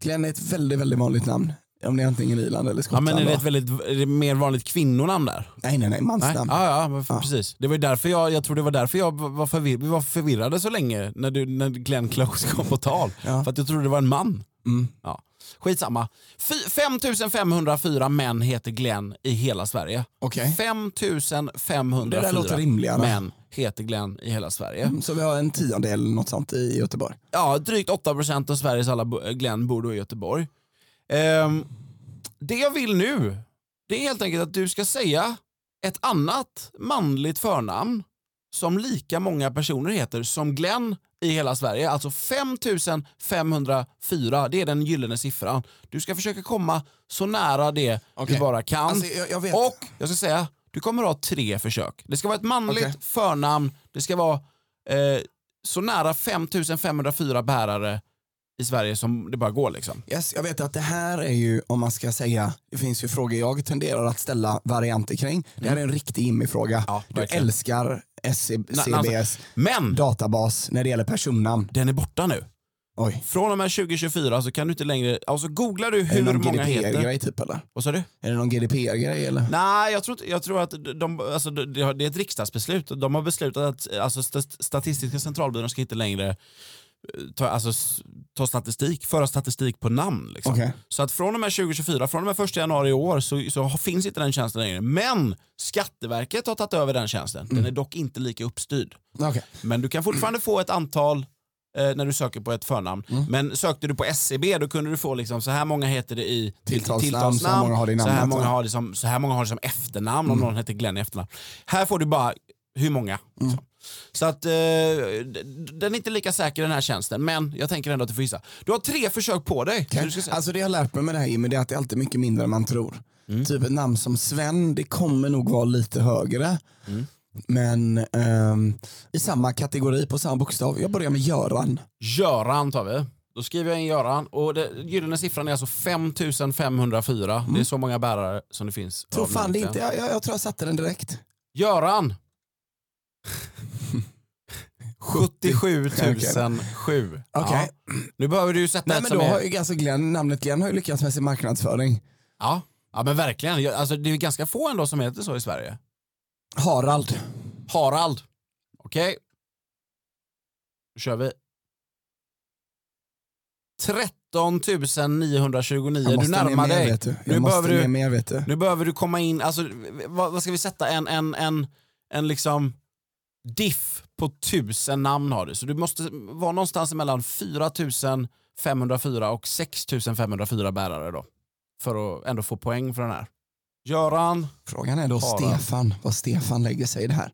[SPEAKER 5] Glenn är ett väldigt, väldigt vanligt namn. Om det är antingen Irland eller
[SPEAKER 4] Ja,
[SPEAKER 5] Skottland.
[SPEAKER 4] men är det
[SPEAKER 5] va?
[SPEAKER 4] ett väldigt, är det mer vanligt kvinnonamn där?
[SPEAKER 5] Nej, nej, nej,
[SPEAKER 4] Nej,
[SPEAKER 5] mansnamn.
[SPEAKER 4] ja, ja, men f-
[SPEAKER 5] Ja.
[SPEAKER 4] precis. Det var ju därför jag, jag tror det var därför jag var, förvir- vi var förvirrade så länge när, du, när Glenn Close kom på tal.
[SPEAKER 5] Ja.
[SPEAKER 4] För att jag trodde det var en man.
[SPEAKER 5] Mm.
[SPEAKER 4] Ja. Skitsamma. Fy- 5504 män heter Glenn i hela Sverige.
[SPEAKER 5] Okej.
[SPEAKER 4] 5504
[SPEAKER 5] Eh? Det där låter rimligare.
[SPEAKER 4] män heter Glenn i hela Sverige.
[SPEAKER 5] Så vi har en tiondel eller något sånt i Göteborg.
[SPEAKER 4] Ja, drygt 8% av Sveriges alla bo- Glenn bor då i Göteborg. Ehm, det jag vill nu, det är helt enkelt att du ska säga ett annat manligt förnamn som lika många personer heter som Glenn i hela Sverige. Alltså 5504, det är den gyllene siffran. Du ska försöka komma så nära det
[SPEAKER 5] Okej.
[SPEAKER 4] du bara kan.
[SPEAKER 5] Alltså, jag- jag vet-
[SPEAKER 4] Och jag ska säga, du kommer ha tre försök. Det ska vara ett manligt
[SPEAKER 5] Okej.
[SPEAKER 4] förnamn, det ska vara eh, så nära 5504 bärare i Sverige som det bara går. Liksom.
[SPEAKER 5] Yes, jag vet att det här är ju, om man ska säga, det finns ju frågor jag tenderar att ställa varianter kring. Det här är en riktig Jimmy-fråga.
[SPEAKER 4] Mm. Ja,
[SPEAKER 5] du
[SPEAKER 4] verkligen.
[SPEAKER 5] älskar
[SPEAKER 4] Na- na-
[SPEAKER 5] SCBs
[SPEAKER 4] Men alltså-
[SPEAKER 5] databas när det gäller personnamn.
[SPEAKER 4] den är borta nu.
[SPEAKER 5] Oj.
[SPEAKER 4] Från och med 2024 så kan du inte längre... Alltså googlar du
[SPEAKER 5] Är det
[SPEAKER 4] hur
[SPEAKER 5] någon
[SPEAKER 4] många heter...
[SPEAKER 5] GDPR-grej typ eller?
[SPEAKER 4] Vad sa du?
[SPEAKER 5] Är det någon GDPR-grej eller?
[SPEAKER 4] Nej, jag tror, inte, jag tror att de, alltså, det har- det är ett riksdagsbeslut. De har beslutat att alltså, St- Statistiska centralbyrån ska inte längre eh, ta, alltså, s- ta statistik, föra statistik på namn. Liksom.
[SPEAKER 5] Okej.
[SPEAKER 4] Så att från och med 2024, från och med 1 januari i år så, så har- finns inte den tjänsten längre. Men Skatteverket har tagit över den tjänsten. Den är
[SPEAKER 5] Mm.
[SPEAKER 4] dock inte lika uppstyrd.
[SPEAKER 5] Okej.
[SPEAKER 4] Men du kan fortfarande få ett antal eh, när du söker på ett förnamn.
[SPEAKER 5] Mm.
[SPEAKER 4] Men sökte du på SCB då kunde du få liksom, så här många heter det i
[SPEAKER 5] Tilltalsnamn,
[SPEAKER 4] i
[SPEAKER 5] så Mm. här många har det i
[SPEAKER 4] så, här
[SPEAKER 5] namnet,
[SPEAKER 4] många
[SPEAKER 5] va?
[SPEAKER 4] har det som, så här många har det som efternamn om någon heter Glenn i efternamn. Här får du bara hur många.
[SPEAKER 5] Mm.
[SPEAKER 4] liksom. Så att eh, d- den är inte lika säker den här tjänsten men jag tänker ändå att du får gissa. Du har tre försök på dig. Så du ska säga-
[SPEAKER 5] Alltså det jag har lärt mig med det här Jimmy, det är att det är alltid mycket mindre än man tror.
[SPEAKER 4] Mm.
[SPEAKER 5] Typ ett namn som Sven, det kommer nog vara lite högre.
[SPEAKER 4] Mm.
[SPEAKER 5] Men ehm, i samma kategori, på samma bokstav. Jag börjar med Göran.
[SPEAKER 4] Göran tar vi. Då skriver jag in Göran och den gyllene siffran är alltså 5504. Det är så många bärare som det finns.
[SPEAKER 5] Mm. Tror
[SPEAKER 4] av
[SPEAKER 5] fan det
[SPEAKER 4] egentligen.
[SPEAKER 5] inte, jag, jag, jag tror jag satte den direkt. [LAUGHS]
[SPEAKER 4] Göran. 77
[SPEAKER 5] Okej.
[SPEAKER 4] 007.
[SPEAKER 5] Okej.
[SPEAKER 4] Ja. Nu behöver du ju sätta
[SPEAKER 5] Nej
[SPEAKER 4] ett
[SPEAKER 5] men
[SPEAKER 4] som
[SPEAKER 5] då
[SPEAKER 4] är...
[SPEAKER 5] har ju alltså Glenn, namnet Glenn har ju lyckats med sin marknadsföring.
[SPEAKER 4] Ja. ja, men verkligen. Jag- Alltså, det är ju ganska få ändå som heter så i Sverige.
[SPEAKER 5] Harald.
[SPEAKER 4] Harald. Okej. Då kör vi. 13 929.
[SPEAKER 5] Jag
[SPEAKER 4] Du
[SPEAKER 5] måste
[SPEAKER 4] närmar
[SPEAKER 5] ner mer,
[SPEAKER 4] dig.
[SPEAKER 5] Vet du.
[SPEAKER 4] Nu
[SPEAKER 5] Jag måste
[SPEAKER 4] behöver du-
[SPEAKER 5] ner mer vet du.
[SPEAKER 4] Nu behöver du komma in, alltså, vad, vad ska vi sätta? En, en, en, en liksom diff på tusen namn har du. Så du måste vara någonstans mellan 4504 och 6504 bärare då. För att ändå få poäng för den här. Göran,
[SPEAKER 5] Frågan är då
[SPEAKER 4] Harald.
[SPEAKER 5] Stefan, vad Stefan lägger sig i det här.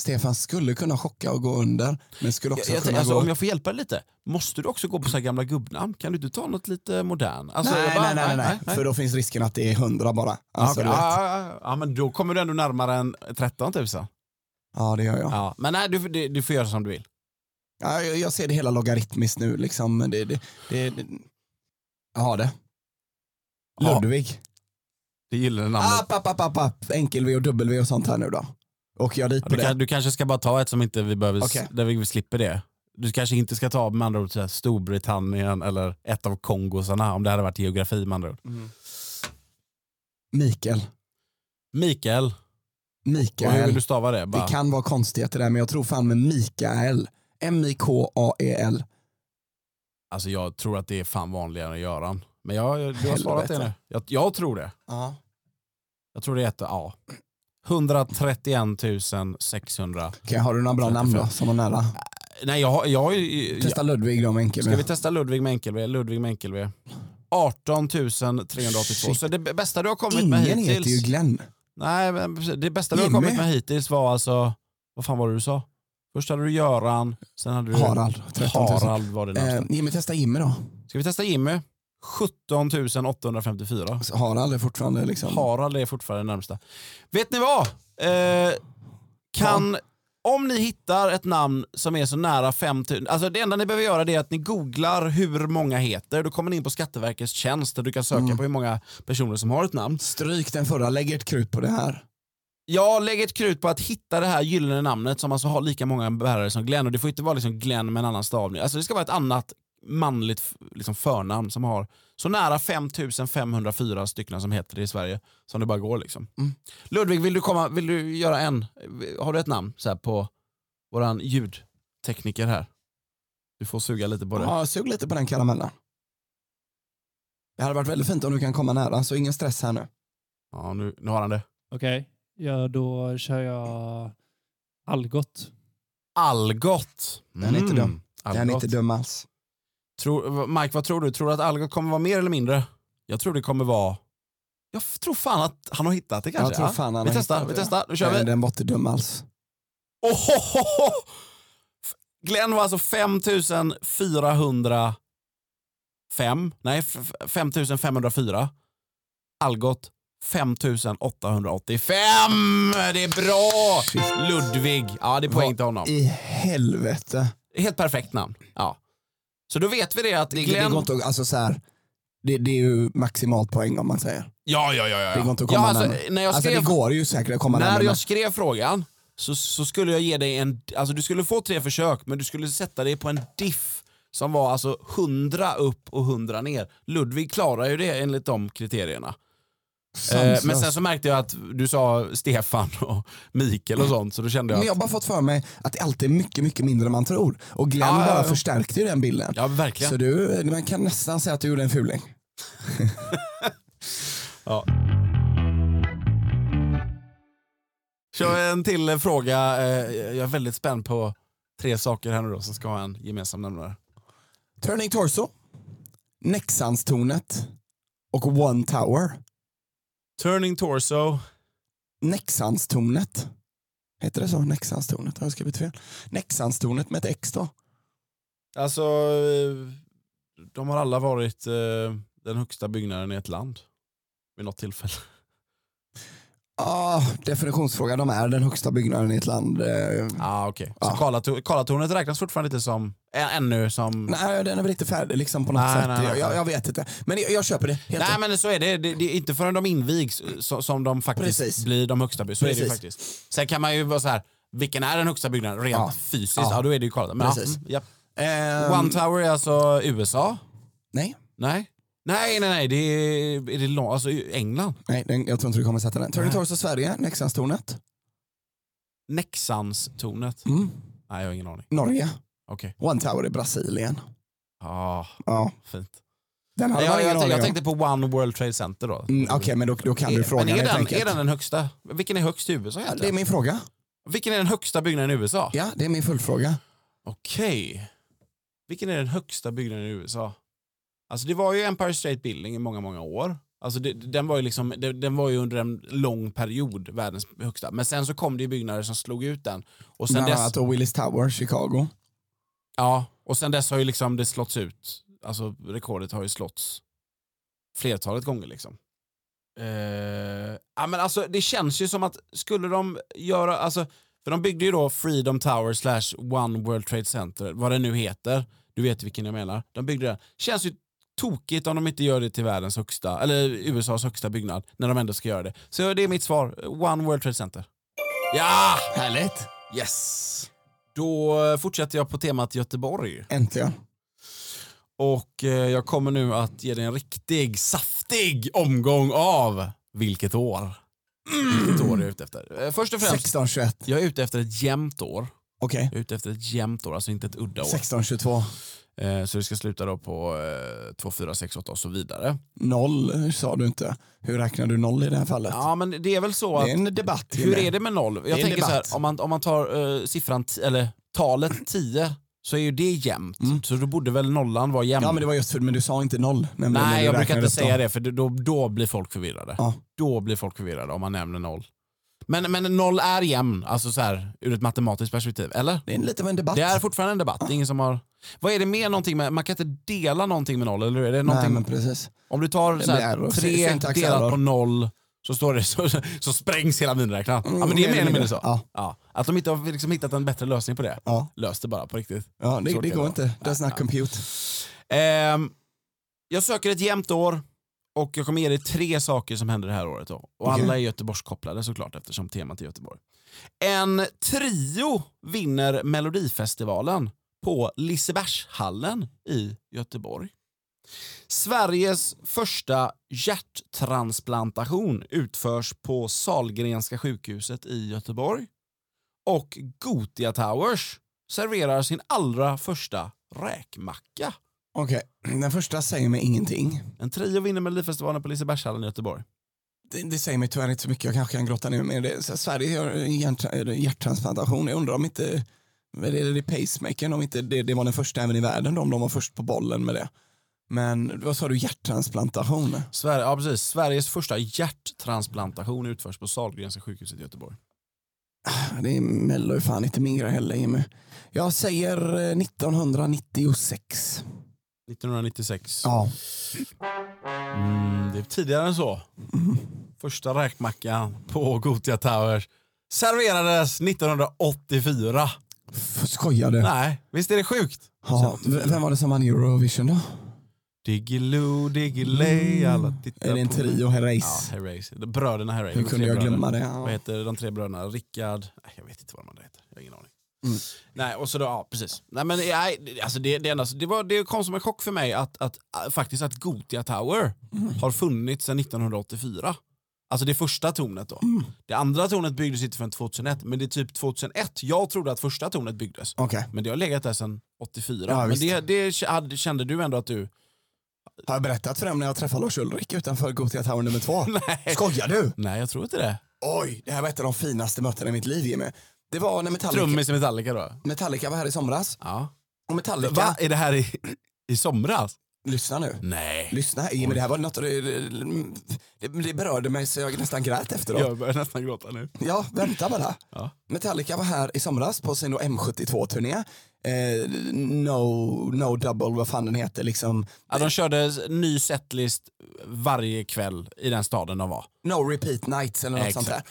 [SPEAKER 5] Stefan skulle kunna chocka och gå under, men skulle
[SPEAKER 4] jag,
[SPEAKER 5] också
[SPEAKER 4] jag,
[SPEAKER 5] kunna
[SPEAKER 4] alltså,
[SPEAKER 5] gå...
[SPEAKER 4] om jag får hjälpa dig lite, måste du också gå på så här gamla gubbnamn? Kan du inte ta något lite modern? Alltså,
[SPEAKER 5] nej,
[SPEAKER 4] jag bara,
[SPEAKER 5] nej, nej, nej, nej, För då finns risken att det är hundra bara.
[SPEAKER 4] Ja,
[SPEAKER 5] Alltså,
[SPEAKER 4] okej.
[SPEAKER 5] du vet.
[SPEAKER 4] ja, ja, ja. ja, men då kommer du ändå närmare än 13 000. Ja.
[SPEAKER 5] Ja, det gör jag.
[SPEAKER 4] Men nej, du, du, du får göra som du vill.
[SPEAKER 5] Ja, jag. Jag ser det hela logaritmiskt nu. Liksom. men Det, det, det, det... Jag har det.
[SPEAKER 4] Ja.
[SPEAKER 5] Ludvig.
[SPEAKER 4] Det gillar namnet.
[SPEAKER 5] App, app, app, app, app. Enkel-V och dubbel-V och sånt här nu då. Åker jag dit på
[SPEAKER 4] Du,
[SPEAKER 5] det?
[SPEAKER 4] kan, du kanske ska bara ta ett som inte vi behöver,
[SPEAKER 5] Okej.
[SPEAKER 4] där vi slipper det. Du kanske inte ska ta med andra ord så här, Storbritannien eller ett av Kongosarna om det hade varit geografi med andra ord.
[SPEAKER 5] Mikael.
[SPEAKER 4] Mikael, och hur vill
[SPEAKER 5] Mikael.
[SPEAKER 4] du stava det? Bara.
[SPEAKER 5] Det kan vara konstigheter där, men jag tror fan med Mikael. M-I-K-A-E-L.
[SPEAKER 4] Alltså jag tror att det är fan vanligare än Göran. Men jag, du har svarat det
[SPEAKER 5] Helvete.
[SPEAKER 4] nu. Jag, jag tror det.
[SPEAKER 5] Ja.
[SPEAKER 4] Jag tror det är ett A. 131 600.
[SPEAKER 5] Okej, har du några bra namn då som var nära?
[SPEAKER 4] Nej jag har, jag har ju...
[SPEAKER 5] Testa Ludvig då med enkel
[SPEAKER 4] Ska vi testa Ludvig med enkel V? Ludvig med enkel V. 18 382.
[SPEAKER 5] Shit.
[SPEAKER 4] Så det bästa du har kommit
[SPEAKER 5] Ingen
[SPEAKER 4] med hittills.
[SPEAKER 5] heter ju Glenn.
[SPEAKER 4] Nej, men precis. det bästa du har
[SPEAKER 5] Jimmy.
[SPEAKER 4] kommit med hittills var alltså, vad fan var det du sa? Först hade du Göran, sen hade du
[SPEAKER 5] Harald. 13 000.
[SPEAKER 4] Harald var det
[SPEAKER 5] Eh,
[SPEAKER 4] närmsta.
[SPEAKER 5] Jimmy, testa Jimmy då.
[SPEAKER 4] Ska vi testa Jimmy? 17 854.
[SPEAKER 5] Så Harald är fortfarande liksom...
[SPEAKER 4] Harald är fortfarande närmsta. Vet ni vad? Eh, kan, om ni hittar ett namn som är så nära 5000, alltså det enda ni behöver göra det är att ni googlar hur många heter, då kommer ni in på Skatteverkets tjänst där du kan
[SPEAKER 5] Mm.
[SPEAKER 4] söka på hur många personer som har ett namn.
[SPEAKER 5] Stryk den förra, lägg ett krut på det här.
[SPEAKER 4] Jag lägger ett krut på att hitta det här gyllene namnet som alltså har lika många bärare som Glenn och det får inte vara liksom Glenn med en annan stavning. Alltså det ska vara ett annat manligt f- liksom förnamn som har så nära 5504 stycken som heter det i Sverige som det bara går. Liksom.
[SPEAKER 5] Mm.
[SPEAKER 4] Ludvig, vill du, komma, vill du göra en? Har du ett namn så här, på våran ljudtekniker här? Du får suga lite på det.
[SPEAKER 5] Ja, sug lite på den karamellen. Det hade varit väldigt fint om du kan komma nära, så ingen stress här nu.
[SPEAKER 4] Ja, nu, nu har han det.
[SPEAKER 8] Okej, ja, då kör jag Algot.
[SPEAKER 4] Algot. Mm.
[SPEAKER 5] Den är inte dum. Den är
[SPEAKER 4] Algot.
[SPEAKER 5] inte dum alls.
[SPEAKER 4] Tror, Mike, vad tror du? Tror du att Algot kommer vara mer eller mindre? Jag tror det kommer vara... Jag f- tror fan att han har hittat det kanske.
[SPEAKER 5] Jag tror
[SPEAKER 4] ja?
[SPEAKER 5] fan han
[SPEAKER 4] vi
[SPEAKER 5] har
[SPEAKER 4] testar,
[SPEAKER 5] hittat
[SPEAKER 4] vi
[SPEAKER 5] det.
[SPEAKER 4] testar. Nu kör vi.
[SPEAKER 5] Nej, Den var inte dum alls.
[SPEAKER 4] Ohohoho! F- Glenn var alltså 5405. Nej, f- f- 5504. Algot 5885. Det är bra! Ludvig. Ja, det är poäng till honom.
[SPEAKER 5] I helvete.
[SPEAKER 4] Helt perfekt namn. Ja. Så då vet vi det att
[SPEAKER 5] Det,
[SPEAKER 4] Glenn...
[SPEAKER 5] det går inte att, alltså så här, det, det är ju maximalt poäng om man säger.
[SPEAKER 4] Ja, ja, ja. ja.
[SPEAKER 5] Det går inte att komma
[SPEAKER 4] ja, alltså,
[SPEAKER 5] närmare.
[SPEAKER 4] när jag
[SPEAKER 5] Alltså
[SPEAKER 4] skrev,
[SPEAKER 5] det går ju säkert att komma
[SPEAKER 4] när
[SPEAKER 5] närmare.
[SPEAKER 4] jag skrev frågan så, så skulle jag ge dig en... Alltså du skulle få tre försök, men du skulle sätta dig på en diff som var alltså 100 upp och 100 ner. Ludvig klarar ju det enligt de kriterierna. Eh,
[SPEAKER 5] Sanslöst.
[SPEAKER 4] men sen så märkte jag att du sa Stefan och Mikael och sånt så då kände jag
[SPEAKER 5] Men jag har
[SPEAKER 4] att,
[SPEAKER 5] bara fått för mig att det alltid är mycket, mycket mindre än man tror. Och Glenn
[SPEAKER 4] Ja, ja,
[SPEAKER 5] bara
[SPEAKER 4] ja.
[SPEAKER 5] förstärkte ju den bilden.
[SPEAKER 4] ja verkligen.
[SPEAKER 5] Så du, man kan nästan säga att du gjorde en fuling.
[SPEAKER 4] Kör en till eh, fråga. Eh, Jag är väldigt spänd på tre saker här nu då som ska ha en gemensam nämnare.
[SPEAKER 5] Turning Torso, Nexanstornet och One Tower.
[SPEAKER 4] Turning torso.
[SPEAKER 5] Nexanstornet. Heter det så? Nexanstornet? Har jag skrivit fel? Nexanstornet med ett X då?
[SPEAKER 4] Alltså, eh, de har alla varit eh, den högsta byggnaden i ett land vid något
[SPEAKER 5] [LAUGHS]
[SPEAKER 4] tillfälle.
[SPEAKER 5] Ah, definitionsfråga. De är den högsta byggnaden i ett land. Eh,
[SPEAKER 4] Ah, okay. Så
[SPEAKER 5] Ja.
[SPEAKER 4] Karlator- Karlatornet räknas fortfarande inte som, ä- ännu som... Nej.
[SPEAKER 5] Nej, den är väl inte färdig liksom på något
[SPEAKER 4] Nej,
[SPEAKER 5] sätt.
[SPEAKER 4] nej, nej.
[SPEAKER 5] Jag, jag vet inte. Men jag, jag köper det. Helt enkelt.
[SPEAKER 4] men så är det. det. Det är inte förrän de invigs eh, so, som de faktiskt
[SPEAKER 5] Precis.
[SPEAKER 4] blir de högsta byggnaderna. Så är det ju
[SPEAKER 5] Precis.
[SPEAKER 4] faktiskt. Sen kan man ju vara så här, vilken är den högsta byggnaden rent
[SPEAKER 5] Ja.
[SPEAKER 4] fysiskt? Ja.
[SPEAKER 5] Ja.
[SPEAKER 4] då är det ju Karlatornet. Men ja,
[SPEAKER 5] Precis.
[SPEAKER 4] mm, japp.
[SPEAKER 5] Ehm,
[SPEAKER 4] One Tower är alltså USA?
[SPEAKER 5] Nej,
[SPEAKER 4] Nej. Nej, nej, nej. Det är, är det lång, alltså England.
[SPEAKER 5] nej den, jag tror inte du kommer sätta den. Turning Torso Sverige, Nexanstornet.
[SPEAKER 4] Nexans-tornet.
[SPEAKER 5] Mm.
[SPEAKER 4] Nej, jag har ingen aning.
[SPEAKER 5] Norge,
[SPEAKER 4] Okej.
[SPEAKER 5] One Tower i Brasilien.
[SPEAKER 4] Ah,
[SPEAKER 5] Ja,
[SPEAKER 4] fint.
[SPEAKER 5] den hade
[SPEAKER 4] Nej,
[SPEAKER 5] man
[SPEAKER 4] jag,
[SPEAKER 5] ingen
[SPEAKER 4] jag,
[SPEAKER 5] aning
[SPEAKER 4] jag
[SPEAKER 5] om.
[SPEAKER 4] tänkte på One World Trade Center då.
[SPEAKER 5] Mm, Okej, men då, då kan du frågan
[SPEAKER 4] Men är
[SPEAKER 5] helt
[SPEAKER 4] den,
[SPEAKER 5] enkelt.
[SPEAKER 4] är den den högsta? Vilken är högst i USA
[SPEAKER 5] Ja, det är
[SPEAKER 4] egentligen?
[SPEAKER 5] min fråga.
[SPEAKER 4] Vilken är den högsta byggnaden i USA?
[SPEAKER 5] Ja, det är min fullfråga.
[SPEAKER 4] Okej. Vilken är den högsta byggnaden i USA? Alltså det var ju Empire State Building i många, många år. Alltså det, den, var ju liksom, det, den var ju under en lång period världens högsta. Men sen så kom det ju byggnader som slog ut den. Och sen
[SPEAKER 5] Bland
[SPEAKER 4] dess,
[SPEAKER 5] annat då Willis Tower, Chicago.
[SPEAKER 4] ja, och sen dess har ju liksom det slåtts ut. Alltså rekordet har ju slåtts flertalet gånger liksom. Eh, ja, men alltså, det känns ju som att skulle de göra, alltså, för de byggde ju då Freedom Tower slash One World Trade Center, vad det nu heter. Du vet vilken jag menar. De byggde det. Känns ju tokigt om de inte gör det till världens högsta, eller USAs högsta byggnad, när de ändå ska göra det. Så det är mitt svar, One World Trade Center. Ja! Härligt! Yes! Då eh, fortsätter jag på temat Göteborg.
[SPEAKER 5] Äntligen.
[SPEAKER 4] Och eh, jag kommer nu att ge dig en riktig saftig omgång av vilket år. Vilket år är jag ute efter? Eh, Först och främst,
[SPEAKER 5] 1621.
[SPEAKER 4] jag är ute efter ett jämnt år.
[SPEAKER 5] Okej.
[SPEAKER 4] Jag är ute efter ett jämnt år, alltså inte ett udda år.
[SPEAKER 5] 1622.
[SPEAKER 4] Eh, Så det ska sluta då på eh, 2, 4, 6, 8 och så vidare.
[SPEAKER 5] Noll sa du inte. Hur räknar du noll i det här fallet?
[SPEAKER 4] Ja men det är väl så
[SPEAKER 5] det är
[SPEAKER 4] att,
[SPEAKER 5] en debatt.
[SPEAKER 4] hur är det med noll?
[SPEAKER 5] är
[SPEAKER 4] Jag
[SPEAKER 5] en
[SPEAKER 4] tänker så här,
[SPEAKER 5] debatt.
[SPEAKER 4] om man, om man tar eh, siffran, t- eller talet 10 så är ju det jämnt. Så då borde väl nollan vara jämn.
[SPEAKER 5] Mm. Ja men det var just för men du sa inte noll. nämligen, när
[SPEAKER 4] Nej,
[SPEAKER 5] du
[SPEAKER 4] jag brukar
[SPEAKER 5] räknade
[SPEAKER 4] inte
[SPEAKER 5] upp
[SPEAKER 4] säga
[SPEAKER 5] dem.
[SPEAKER 4] det för då, då blir folk förvirrade.
[SPEAKER 5] Ja.
[SPEAKER 4] Då blir folk förvirrade om man nämner noll. Men, men noll är jämn, alltså så här, ur ett matematiskt perspektiv. Eller?
[SPEAKER 5] Det är lite av en debatt.
[SPEAKER 4] Det är fortfarande en debatt. Det är ingen som har... Vad är det med någonting med... Man kan inte dela någonting med noll, eller hur? Är det
[SPEAKER 5] Nej
[SPEAKER 4] någonting...
[SPEAKER 5] men precis.
[SPEAKER 4] Om du tar så
[SPEAKER 5] Det
[SPEAKER 4] här,
[SPEAKER 5] är error.
[SPEAKER 4] tre
[SPEAKER 5] Syntax
[SPEAKER 4] delat
[SPEAKER 5] error.
[SPEAKER 4] på noll så, står det, [LAUGHS] så, så sprängs hela miniräknaren.
[SPEAKER 5] Mm,
[SPEAKER 4] ja, men det är mer eller mindre så.
[SPEAKER 5] Ja.
[SPEAKER 4] Att de inte har liksom hittat en bättre lösning på det.
[SPEAKER 5] Ja.
[SPEAKER 4] Lös det bara på riktigt.
[SPEAKER 5] Ja, det,
[SPEAKER 4] Så
[SPEAKER 5] det
[SPEAKER 4] kan
[SPEAKER 5] går
[SPEAKER 4] det
[SPEAKER 5] inte. Does not compute.
[SPEAKER 4] Ehm, jag söker ett jämnt år och jag kommer ge dig tre saker som händer det här året. Då. Och
[SPEAKER 5] Okej.
[SPEAKER 4] alla är Göteborgskopplade såklart eftersom temat är Göteborg. En trio vinner Melodifestivalen på Lisebergshallen i Göteborg. Sveriges första hjärttransplantation utförs på Sahlgrenska sjukhuset i Göteborg. Och Gotia Towers serverar sin allra första räkmacka.
[SPEAKER 5] Okej, den första säger mig ingenting.
[SPEAKER 4] En trio vinner Melodifestivalen på Lisebergshallen i Göteborg.
[SPEAKER 5] Det, det säger mig tyvärr inte så mycket. Jag kanske kan grotta ner mig i det. Så Sverige gör hjärtra, eller hjärttransplantation. Jag undrar om inte, vad är det, det är pacemakern, om inte det, det var den första även i världen då, om de var först på bollen med det. Men vad sa du, hjärttransplantation?
[SPEAKER 4] Sverige, ja, precis. Sveriges första hjärttransplantation utförs på Sahlgrenska sjukhuset i Göteborg.
[SPEAKER 5] Det är Mello är fan inte min grej heller Jimmy. Jag säger eh, 1996.
[SPEAKER 4] 1996.
[SPEAKER 5] Ja.
[SPEAKER 4] Mm, det är tidigare än så.
[SPEAKER 5] Mm.
[SPEAKER 4] Första räkmackan på Gotia Towers serverades 1984.
[SPEAKER 5] F- Skojar du?
[SPEAKER 4] Nej, visst är det sjukt?
[SPEAKER 5] Ja. V- Vem var det som vann Eurovision då?
[SPEAKER 4] Diggiloo, Diggiley, alla tittar
[SPEAKER 5] Mm. Är det en
[SPEAKER 4] på-
[SPEAKER 5] trio Herreys?
[SPEAKER 4] Ja, Herreys. Bröderna Herreys.
[SPEAKER 5] Hur
[SPEAKER 4] De
[SPEAKER 5] kunde
[SPEAKER 4] tre
[SPEAKER 5] jag
[SPEAKER 4] bröderna.
[SPEAKER 5] glömma det? Ja.
[SPEAKER 4] Vad heter de tre bröderna? Rickard? Nej, jag vet inte vad de andra heter. Jag har ingen aning.
[SPEAKER 5] Mm.
[SPEAKER 4] Nej, och så då, ja precis. Nej, men, nej, alltså det, det, enda, det, var, det kom som en chock för mig att, att äh, faktiskt att Gotia Tower
[SPEAKER 5] Mm.
[SPEAKER 4] har funnits sedan 1984. Alltså det första tornet då.
[SPEAKER 5] Mm.
[SPEAKER 4] Det andra tornet byggdes inte förrän 2001, men det är typ 2001 jag trodde att första tornet byggdes.
[SPEAKER 5] Okej.
[SPEAKER 4] Men det har legat där sedan 84.
[SPEAKER 5] Ja,
[SPEAKER 4] men
[SPEAKER 5] visst.
[SPEAKER 4] det, det k- hade- kände du ändå att du...
[SPEAKER 5] Har jag berättat för dem när jag träffade Lars Ulrik utanför Gothia Tower
[SPEAKER 4] [LAUGHS]
[SPEAKER 5] nummer två? [LAUGHS] Nej. Skojar du?
[SPEAKER 4] Nej, jag tror inte det.
[SPEAKER 5] Oj, det här var ett av de finaste mötena i mitt liv Jimmy. Det var när Metallica,
[SPEAKER 4] Trummis i Metallica då?
[SPEAKER 5] Metallica var här i somras.
[SPEAKER 4] Ja.
[SPEAKER 5] Och Metallica...
[SPEAKER 4] Va? Är det här i, i somras?
[SPEAKER 5] Lyssna nu.
[SPEAKER 4] Nej.
[SPEAKER 5] Lyssna, Jimmy, det här var något... Det, det, det berörde mig så jag nästan grät efteråt.
[SPEAKER 4] Jag börjar nästan gråta nu.
[SPEAKER 5] Ja, vänta bara.
[SPEAKER 4] Ja.
[SPEAKER 5] Metallica var här i somras på sin då M72-turné. Eh, no, no double, vad fan den heter. Liksom.
[SPEAKER 4] Ja, de körde ny setlist varje kväll i den staden
[SPEAKER 5] Eh,
[SPEAKER 4] de var.
[SPEAKER 5] No repeat nights eller något
[SPEAKER 4] Exakt.
[SPEAKER 5] sånt där.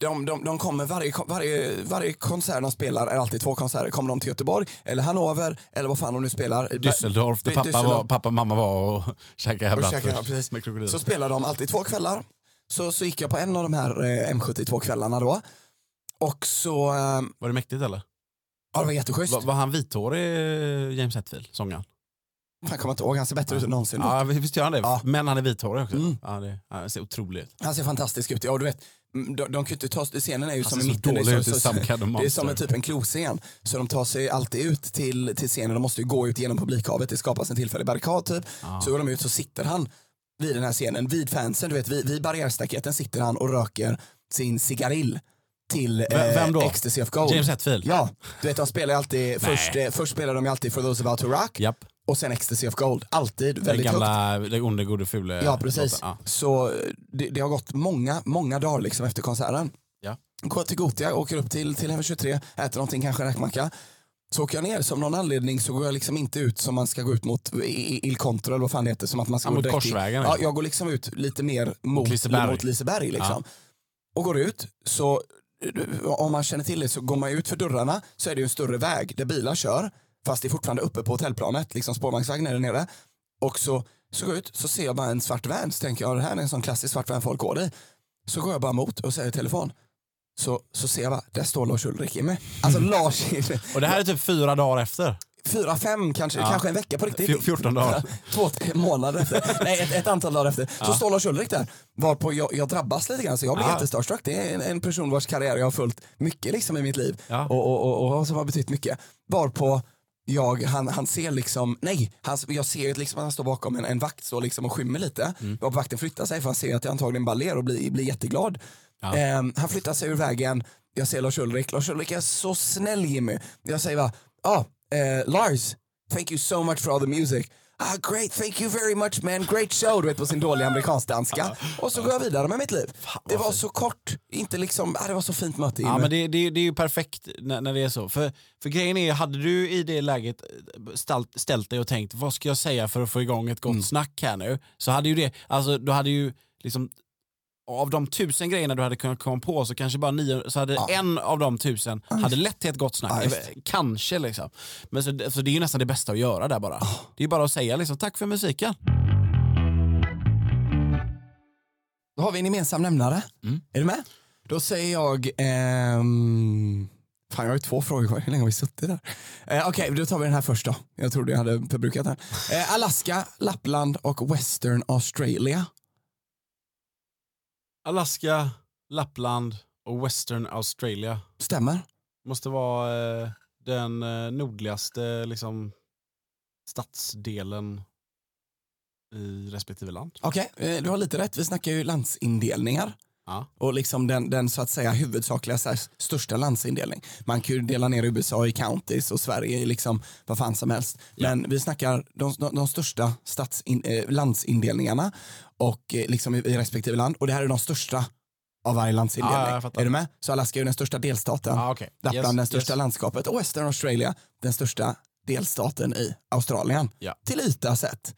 [SPEAKER 5] De, de, de kommer varje, varje, varje konsert de spelar är alltid två konserter. Kommer de till Göteborg eller Hannover eller vad fan de nu spelar.
[SPEAKER 4] Düsseldorf där
[SPEAKER 5] Dy-
[SPEAKER 4] pappa,
[SPEAKER 5] Düsseldorf.
[SPEAKER 4] var, pappa och mamma var och [LAUGHS] käkade
[SPEAKER 5] Och
[SPEAKER 4] bratwurst
[SPEAKER 5] käkade, ja, precis.
[SPEAKER 4] med krokodiler.
[SPEAKER 5] Så spelar de alltid två kvällar. Så, så gick jag på en av de här eh, M72-kvällarna då. Och så, eh,
[SPEAKER 4] Var det mäktigt eller?
[SPEAKER 5] ja det var jätteschysst.
[SPEAKER 4] Var, var han vithårig, eh, James Hetfield, sångaren?
[SPEAKER 5] Fan, kommer inte ihåg, han ser bättre ut än någonsin.
[SPEAKER 4] Ja, visst gör han det?
[SPEAKER 5] Ja.
[SPEAKER 4] Men han är vithårig också.
[SPEAKER 5] Mm.
[SPEAKER 4] Ja, det, ja, det ser otroligt ut.
[SPEAKER 5] Han ser fantastisk ut. Ja, och du vet, mm, de, de kan ju inte ta, scenen är ju som i
[SPEAKER 4] ser så
[SPEAKER 5] mitten. Det
[SPEAKER 4] dålig
[SPEAKER 5] är som-
[SPEAKER 4] ut i alltså.
[SPEAKER 5] så-
[SPEAKER 4] Some Kind of
[SPEAKER 5] det är
[SPEAKER 4] Monster.
[SPEAKER 5] som en typ en kloscen. Så de tar sig alltid ut till, till scenen. De måste ju gå ut genom publikhavet. Det skapas en tillfällig barrikad typ. Så går de ut så sitter han vid den här scenen, vid fansen. Du vet, vid, vid barriärstaketen sitter han och röker sin cigarill till eh,
[SPEAKER 4] Vem- vem då?
[SPEAKER 5] Ecstasy of Gold.
[SPEAKER 4] James Hetfield?
[SPEAKER 5] Ja, du vet de spelar ju alltid, först, eh, först spelar de ju alltid For Those About To Rock
[SPEAKER 4] Japp.
[SPEAKER 5] och sen Ecstasy of Gold. Alltid
[SPEAKER 4] Den
[SPEAKER 5] väldigt högt.
[SPEAKER 4] gamla, den onde, gode, fule
[SPEAKER 5] Ja, precis.
[SPEAKER 4] låten. eh, Ja.
[SPEAKER 5] Så eh, det, det har gått många, många dagar liksom efter konserten.
[SPEAKER 4] Ja.
[SPEAKER 5] Går till Gotia, åker upp till, till MV23, äter någonting, kanske en räkmacka. Så åker jag ner, som någon anledning så går jag liksom inte ut som man ska gå ut mot I- I- Il Contro eller vad fan det heter. Som att man ska
[SPEAKER 4] Ja,
[SPEAKER 5] gå
[SPEAKER 4] mot
[SPEAKER 5] direkt in.
[SPEAKER 4] Korsvägen,
[SPEAKER 5] Ja,
[SPEAKER 4] liksom.
[SPEAKER 5] jag går liksom ut lite mer mot
[SPEAKER 4] Liseberg.
[SPEAKER 5] Liseberg. Mot Liseberg liksom. Och går ut, så om man känner till det så går man ut för dörrarna så är det ju en större väg där bilar kör. Fast det är fortfarande uppe på hotellplanet, liksom spårvagnsvagn är där nere. Och så, så går jag ut så ser jag bara en svart van. Så tänker jag, det här är en sån klassisk svart van folk går i. Så går jag bara mot och säger i telefon. Så, så ser jag bara, där står Lars Ulrik i mig. [LAUGHS] Alltså Lars,
[SPEAKER 4] Och det här är typ fyra dagar efter.
[SPEAKER 5] fyra, fem kanske,
[SPEAKER 4] Ja.
[SPEAKER 5] kanske en vecka på riktigt.
[SPEAKER 4] Fjo- 14 dagar.
[SPEAKER 5] [LAUGHS] Två, tre månader
[SPEAKER 4] [LAUGHS]
[SPEAKER 5] efter. Nej, ett, ett antal dagar efter. Så står Lars Ulrik där. Varpå jag, jag drabbas lite grann, så jag blir
[SPEAKER 4] Ja.
[SPEAKER 5] jättestarstruck. Det är en, en person vars karriär jag har följt mycket liksom i mitt liv.
[SPEAKER 4] Ja.
[SPEAKER 5] Och, och, och, och som har betytt mycket. Varpå jag, han, han ser liksom, nej, han, jag ser ju liksom att han står bakom en, en vakt står liksom och skymmer lite.
[SPEAKER 4] Mm.
[SPEAKER 5] Och vakten flyttar sig för han ser att jag antagligen bara ler och blir, blir jätteglad.
[SPEAKER 4] Ja.
[SPEAKER 5] Ehm, han flyttar sig ur vägen, jag ser Lars Ulrik, Lars Ulrik är så snäll Jimmy. Jag säger bara, ah, eh, Lars, thank you so much for all the music. Ah, great, thank you very much man, great show, du vet på sin dåliga amerikansk-danska. Och så går jag vidare med mitt liv. Det var så kort, inte liksom, ah, det var så fint möte Jimmy.
[SPEAKER 4] Ja, men det, det, det är ju perfekt när, när det är så. För, för grejen är, hade du i det läget eh, ställt, ställt dig och tänkt vad ska jag säga för att få igång ett gott
[SPEAKER 5] Mm.
[SPEAKER 4] snack här nu? Så hade ju det, alltså du hade ju liksom av de tusen grejerna du hade kunnat komma på så kanske bara nio, så hade en av de tusen hade lett till ett gott snack.
[SPEAKER 5] Ja, just.
[SPEAKER 4] kanske liksom. Men så, så det är ju nästan det bästa att göra där bara.
[SPEAKER 5] Ah.
[SPEAKER 4] Det är ju bara att säga liksom tack för musiken.
[SPEAKER 5] Då har vi en gemensam nämnare. Är du med? Mm. Då säger jag... ehm, Fan, jag har ju två frågor kvar. Hur länge har vi suttit där? Eh, Okej, då tar vi den här först då. Jag trodde jag hade förbrukat den. Eh, Alaska, Lappland och Western Australia.
[SPEAKER 4] Alaska, Lappland och Western Australia.
[SPEAKER 5] Stämmer?
[SPEAKER 4] måste vara eh, den eh, nordligaste liksom, stadsdelen i respektive land.
[SPEAKER 5] Okej, eh, du har lite rätt. Vi snackar ju landsindelningar.
[SPEAKER 4] Ja.
[SPEAKER 5] Och liksom den, den så att säga huvudsakliga så här, största landsindelning. Man kan ju dela ner USA i counties och Sverige i liksom vad fan som helst. Men vi snackar de, de, de största statsin, eh, landsindelningarna och eh, liksom i, i respektive land. Och det här är de största av varje landsindelning.
[SPEAKER 4] Ja, jag fattar.
[SPEAKER 5] är du med? Så Alaska är ju den största delstaten.
[SPEAKER 4] Ah, okay.
[SPEAKER 5] Lappland den största landskapet och Western Australia den största delstaten i Australien.
[SPEAKER 4] Ja.
[SPEAKER 5] Till yta sett.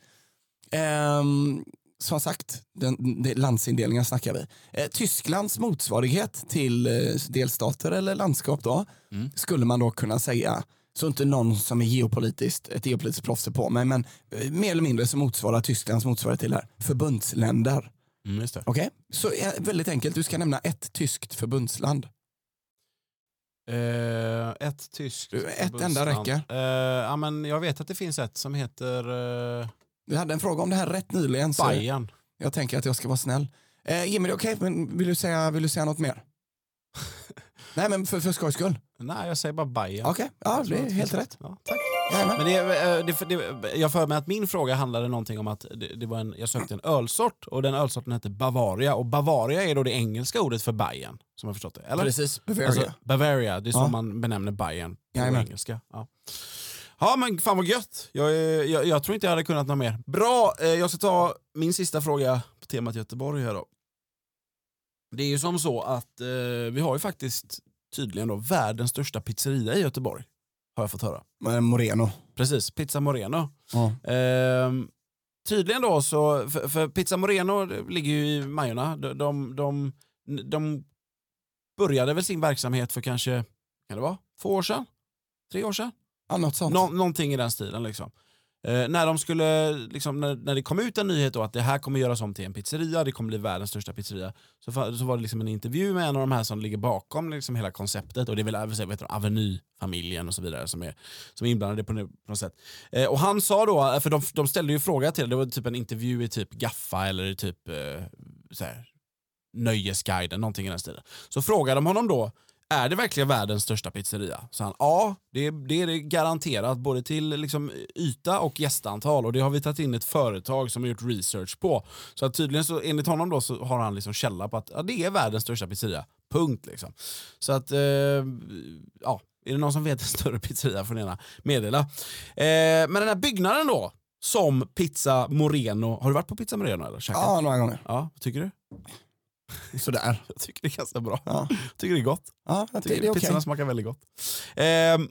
[SPEAKER 5] Ehm, som sagt, den, den, landsindelningen snackar vi. Eh, Tysklands motsvarighet till eh, delstater eller landskap då,
[SPEAKER 4] Mm.
[SPEAKER 5] skulle man då kunna säga, så inte någon som är geopolitiskt, ett geopolitiskt proffs är på mig, men eh, mer eller mindre så motsvarar Tysklands motsvarighet till det här, förbundsländer.
[SPEAKER 4] Mm, just det.
[SPEAKER 5] Okej? Så eh, väldigt enkelt, du ska nämna ett tyskt förbundsland.
[SPEAKER 4] Eh, ett tyskt.
[SPEAKER 5] Du, ett enda
[SPEAKER 4] bussland.
[SPEAKER 5] räcker.
[SPEAKER 4] Eh, ja, men jag vet att det finns ett som heter eh,
[SPEAKER 5] Vi hade en fråga om det här rätt nyligen, så
[SPEAKER 4] Bayern.
[SPEAKER 5] jag tänker att jag ska vara snäll. Eh, Jimmy, det är okej, men vill du säga, vill du säga
[SPEAKER 4] [LAUGHS]
[SPEAKER 5] något mer? Nej, men för, för skojs skull.
[SPEAKER 4] Nej, jag säger bara Bayern.
[SPEAKER 5] Okej, ja,
[SPEAKER 4] Jag tror
[SPEAKER 5] det är
[SPEAKER 4] att
[SPEAKER 5] helt
[SPEAKER 4] finns
[SPEAKER 5] rätt.
[SPEAKER 4] ett. Ja, tack.
[SPEAKER 5] Jajamän.
[SPEAKER 4] Men det, eh, det, det, jag för mig att min fråga handlade någonting om att det, det var en, jag sökte en ölsort och den ölsorten hette Bavaria och Bavaria är då det engelska ordet för Bayern som jag förstått det. Eller?
[SPEAKER 5] Precis, Bavaria.
[SPEAKER 4] Alltså, Bavaria, det är så
[SPEAKER 5] Ja.
[SPEAKER 4] man benämner Bayern på
[SPEAKER 5] Jajamän.
[SPEAKER 4] engelska. Ja. ja men fan vad gött. Jag, är- jag, jag tror inte jag hade kunnat något mer. Bra, eh, jag ska ta min sista fråga på temat Göteborg här då. Det är ju som så att eh, vi har ju faktiskt tydligen då världens största pizzeria i Göteborg. Har jag fått höra.
[SPEAKER 5] Eh, Moreno.
[SPEAKER 4] Precis, Pizza Moreno.
[SPEAKER 5] Ja.
[SPEAKER 4] Ehm, tydligen då så, för, för Pizza Moreno ligger ju i Majorna. De, de, de, de började väl sin verksamhet för kanske, kan det vara, två år sedan? Tre år sedan?
[SPEAKER 5] Ja, något sånt.
[SPEAKER 4] Nå, någonting i den stilen liksom. Eh, när, de skulle, liksom när, när det kom ut en nyhet då att det här kommer göras om till en pizzeria, det kommer bli världens största pizzeria, så, fa- så var det liksom en intervju med en av de här som ligger bakom liksom hela konceptet och det är väl även så- vet du, Aveny-familjen och så vidare som är, som är inblandade på, nu- på något sätt. Eh, och han sa då, för de, de ställde ju fråga till, det var typ en intervju i typ Gaffa eller i typ eh, så här, Nöjesguiden, någonting i den stilen. Så frågade de honom då, är det verkligen världens största pizzeria? Så han, ja, det, det är det garanterat både till liksom yta och gästantal och det har vi tagit in ett företag som har gjort research på. Så att tydligen, så, enligt honom då, så har han liksom källa på att ja, det är världens största pizzeria. Punkt liksom. Så att, eh, ja, är det någon som vet en större pizzeria får ni gärna meddela. Eh, men den här byggnaden då, som Pizza Moreno, har du varit på Pizza Moreno eller? Käkat?
[SPEAKER 5] Ja, några gånger.
[SPEAKER 4] Ja, vad tycker du?
[SPEAKER 5] Sådär.
[SPEAKER 4] [LAUGHS] Jag tycker det är ganska bra.
[SPEAKER 5] Ja,
[SPEAKER 4] Jag tycker det är gott.
[SPEAKER 5] ja det,
[SPEAKER 4] Jag tycker
[SPEAKER 5] det är okej.
[SPEAKER 4] Pizzorna smakar väldigt gott. Ehm,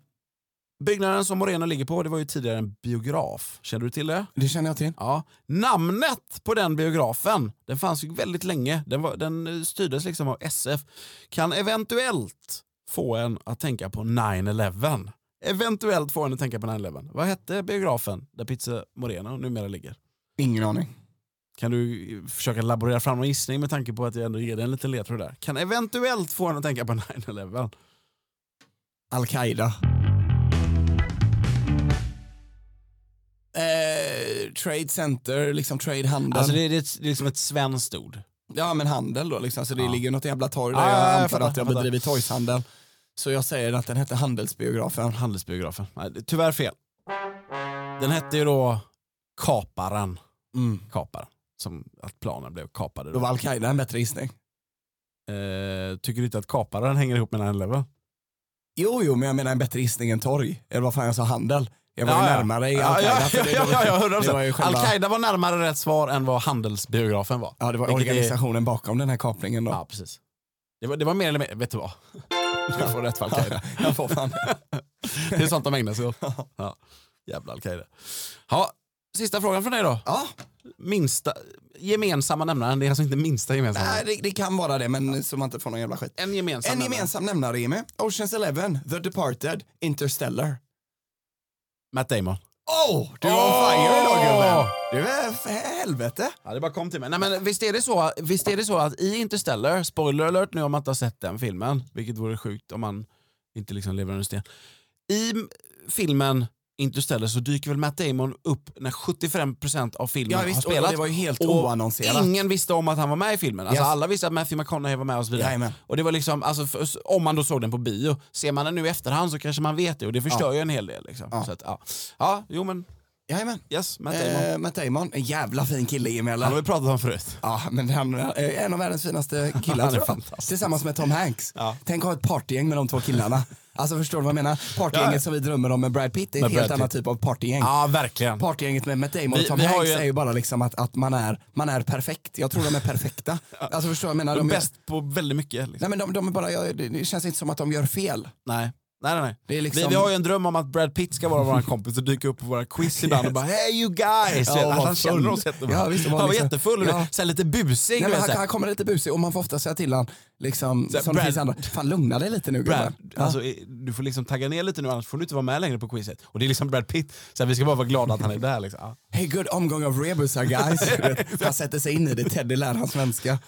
[SPEAKER 4] byggnaden som Moreno ligger på, det var ju tidigare en biograf. Känner du till det?
[SPEAKER 5] Det känner jag till.
[SPEAKER 4] Ja. Namnet på den biografen, den fanns ju väldigt länge. Den, var, den eh, styrdes liksom av SF. Kan eventuellt få en att tänka på 9-11. Eventuellt få en att tänka på 9-11. Vad hette biografen där Pizza Moreno numera ligger?
[SPEAKER 5] Ingen aning.
[SPEAKER 4] Kan du eh, försöka laborera fram någon gissning med tanke på att jag ändå ger dig en liten ledtråd där? Kan eventuellt få en att tänka på 9-11.
[SPEAKER 5] Al-Qaida. Eh, trade center, liksom trade handel.
[SPEAKER 4] Alltså det, det, är ett- det är liksom ett svenskt ord.
[SPEAKER 5] Ja men handel då liksom, så det
[SPEAKER 4] Ja.
[SPEAKER 5] ligger ju något jävla torg där.
[SPEAKER 4] Ja, ja, ja,
[SPEAKER 5] jag
[SPEAKER 4] jag
[SPEAKER 5] antar
[SPEAKER 4] fattar,
[SPEAKER 5] att jag
[SPEAKER 4] jag fattar.
[SPEAKER 5] bedriver torgshandel. Så jag säger att den hette Handelsbiografen.
[SPEAKER 4] Handelsbiografen. Nej, det- tyvärr fel. Den hette ju då Kaparen.
[SPEAKER 5] Mm.
[SPEAKER 4] Kaparen. Som att planen blev kapade.
[SPEAKER 5] Då
[SPEAKER 4] Då.
[SPEAKER 5] var Al-Qaida en bättre gissning.
[SPEAKER 4] Eh, tycker du inte att Kaparen hänger ihop med 9-11?
[SPEAKER 5] Jo, jo, men jag menar en bättre gissning än torg. Eller vad fan jag sa, handel. Jag var ju
[SPEAKER 4] Ja, ja.
[SPEAKER 5] närmare i
[SPEAKER 4] Ja,
[SPEAKER 5] Al-Qaida.
[SPEAKER 4] ja,
[SPEAKER 5] för
[SPEAKER 4] ja,
[SPEAKER 5] det- det
[SPEAKER 4] ja,
[SPEAKER 5] var-
[SPEAKER 4] ja,
[SPEAKER 5] det var
[SPEAKER 4] 100%.
[SPEAKER 5] ju själva-
[SPEAKER 4] Al-Qaida var närmare rätt svar än vad handelsbiografen var.
[SPEAKER 5] Ja, det var
[SPEAKER 4] Vilket är-
[SPEAKER 5] organisationen bakom den här kapningen då. [LAUGHS]
[SPEAKER 4] Ja, precis. Det var, det var mer eller mindre, vet du vad? [LAUGHS] Du får rätt för Al-Qaida. [LAUGHS]
[SPEAKER 5] jag får fan.
[SPEAKER 4] Det är sånt de ägnar [LAUGHS] sig åt. Ja. Jävla Al-Qaida. Ja, sista frågan från dig då.
[SPEAKER 5] Ja,
[SPEAKER 4] minsta gemensamma nämnaren, det är alltså inte minsta gemensamma.
[SPEAKER 5] nej, det, det kan vara det, men så man inte får någon jävla skit.
[SPEAKER 4] en gemensam
[SPEAKER 5] En
[SPEAKER 4] nämnare.
[SPEAKER 5] gemensam nämnare, Jimmy. Oceans Eleven, The Departed, Interstellar.
[SPEAKER 4] Matt Damon.
[SPEAKER 5] Oh, du var on fire idag gubben. Du är för helvete.
[SPEAKER 4] Ja, det bara kom till mig. Nej, men visst, är det så, visst är det så att i Interstellar, spoiler alert nu om man inte har sett den filmen, vilket vore sjukt om man inte liksom lever under sten. I m- filmen Interstellar så dyker väl Matt Damon upp när 75% av filmen
[SPEAKER 5] Ja, visst,
[SPEAKER 4] har
[SPEAKER 5] och
[SPEAKER 4] spelat.
[SPEAKER 5] det var ju helt
[SPEAKER 4] Och
[SPEAKER 5] oannonserat.
[SPEAKER 4] Ingen visste om att han var med i filmen. Alltså,
[SPEAKER 5] Yes.
[SPEAKER 4] Alla visste att Matthew McConaughey var med och så vidare.
[SPEAKER 5] Jajamän.
[SPEAKER 4] Och det var liksom, alltså, för, om man då såg den på bio, ser man den nu i efterhand så kanske man vet det och det förstör ju en hel del. Liksom.
[SPEAKER 5] Ja.
[SPEAKER 4] Så att, ja. ja, jo men
[SPEAKER 5] Jajamän.
[SPEAKER 4] yes, Matt Damon.
[SPEAKER 5] Eh, Matt Damon, en jävla fin kille Jimmy eller?
[SPEAKER 4] han har vi pratat om förut.
[SPEAKER 5] Ja, men han är en av världens finaste killar
[SPEAKER 4] [LAUGHS] Han är
[SPEAKER 5] tror jag.
[SPEAKER 4] fantastisk.
[SPEAKER 5] Tillsammans med Tom Hanks.
[SPEAKER 4] Ja.
[SPEAKER 5] Tänk att ha ett partygäng med de två killarna. Alltså förstår du vad jag menar? Partygänget
[SPEAKER 4] Ja.
[SPEAKER 5] som vi drömmer om med Brad Pitt det är
[SPEAKER 4] Med
[SPEAKER 5] ett helt
[SPEAKER 4] Brad
[SPEAKER 5] annat
[SPEAKER 4] Pitt.
[SPEAKER 5] typ av partygäng.
[SPEAKER 4] Ja, verkligen.
[SPEAKER 5] Partygänget med Matt Damon och
[SPEAKER 4] Vi-
[SPEAKER 5] Tom
[SPEAKER 4] vi har
[SPEAKER 5] Hanks
[SPEAKER 4] ju en-
[SPEAKER 5] är ju bara liksom att, att man, är, man är perfekt. Jag tror de är
[SPEAKER 4] [LAUGHS]
[SPEAKER 5] perfekta. Alltså förstår du vad jag menar?
[SPEAKER 4] De är
[SPEAKER 5] De är,
[SPEAKER 4] bäst på väldigt mycket. Liksom.
[SPEAKER 5] nej men de, de är bara, jag, det- det känns inte som att de gör fel.
[SPEAKER 4] Nej. Nej, nej, nej.
[SPEAKER 5] Det är liksom...
[SPEAKER 4] Vi, vi har ju en dröm om att Brad Pitt ska [LAUGHS] vara vår kompis och dyka upp på våra quiz ibland och bara hey you guys!
[SPEAKER 5] Ja,
[SPEAKER 4] att
[SPEAKER 5] vad
[SPEAKER 4] han känner
[SPEAKER 5] full.
[SPEAKER 4] oss jättebra.
[SPEAKER 5] Ja, visst, det
[SPEAKER 4] han
[SPEAKER 5] var
[SPEAKER 4] var
[SPEAKER 5] liksom-
[SPEAKER 4] jättefull och
[SPEAKER 5] Ja.
[SPEAKER 4] så här lite busig. du
[SPEAKER 5] Nej, men
[SPEAKER 4] vet,
[SPEAKER 5] han,
[SPEAKER 4] så här,
[SPEAKER 5] han kommer lite busig och man får ofta säga till han liksom,
[SPEAKER 4] Så här,
[SPEAKER 5] som det
[SPEAKER 4] Brad-
[SPEAKER 5] finns andra, fan lugna dig lite nu
[SPEAKER 4] Brad,
[SPEAKER 5] gubben. Ja.
[SPEAKER 4] alltså, eh, du får liksom tagga ner lite nu annars får du inte vara med längre på quizet. Och det är liksom Brad Pitt, så här, vi ska bara vara glada att han är där. Liksom. Ja.
[SPEAKER 5] Hey, good omgång av
[SPEAKER 4] [LAUGHS]
[SPEAKER 5] rebusar guys. Du vet, han sätter sig in i det, Teddy lär han svenska.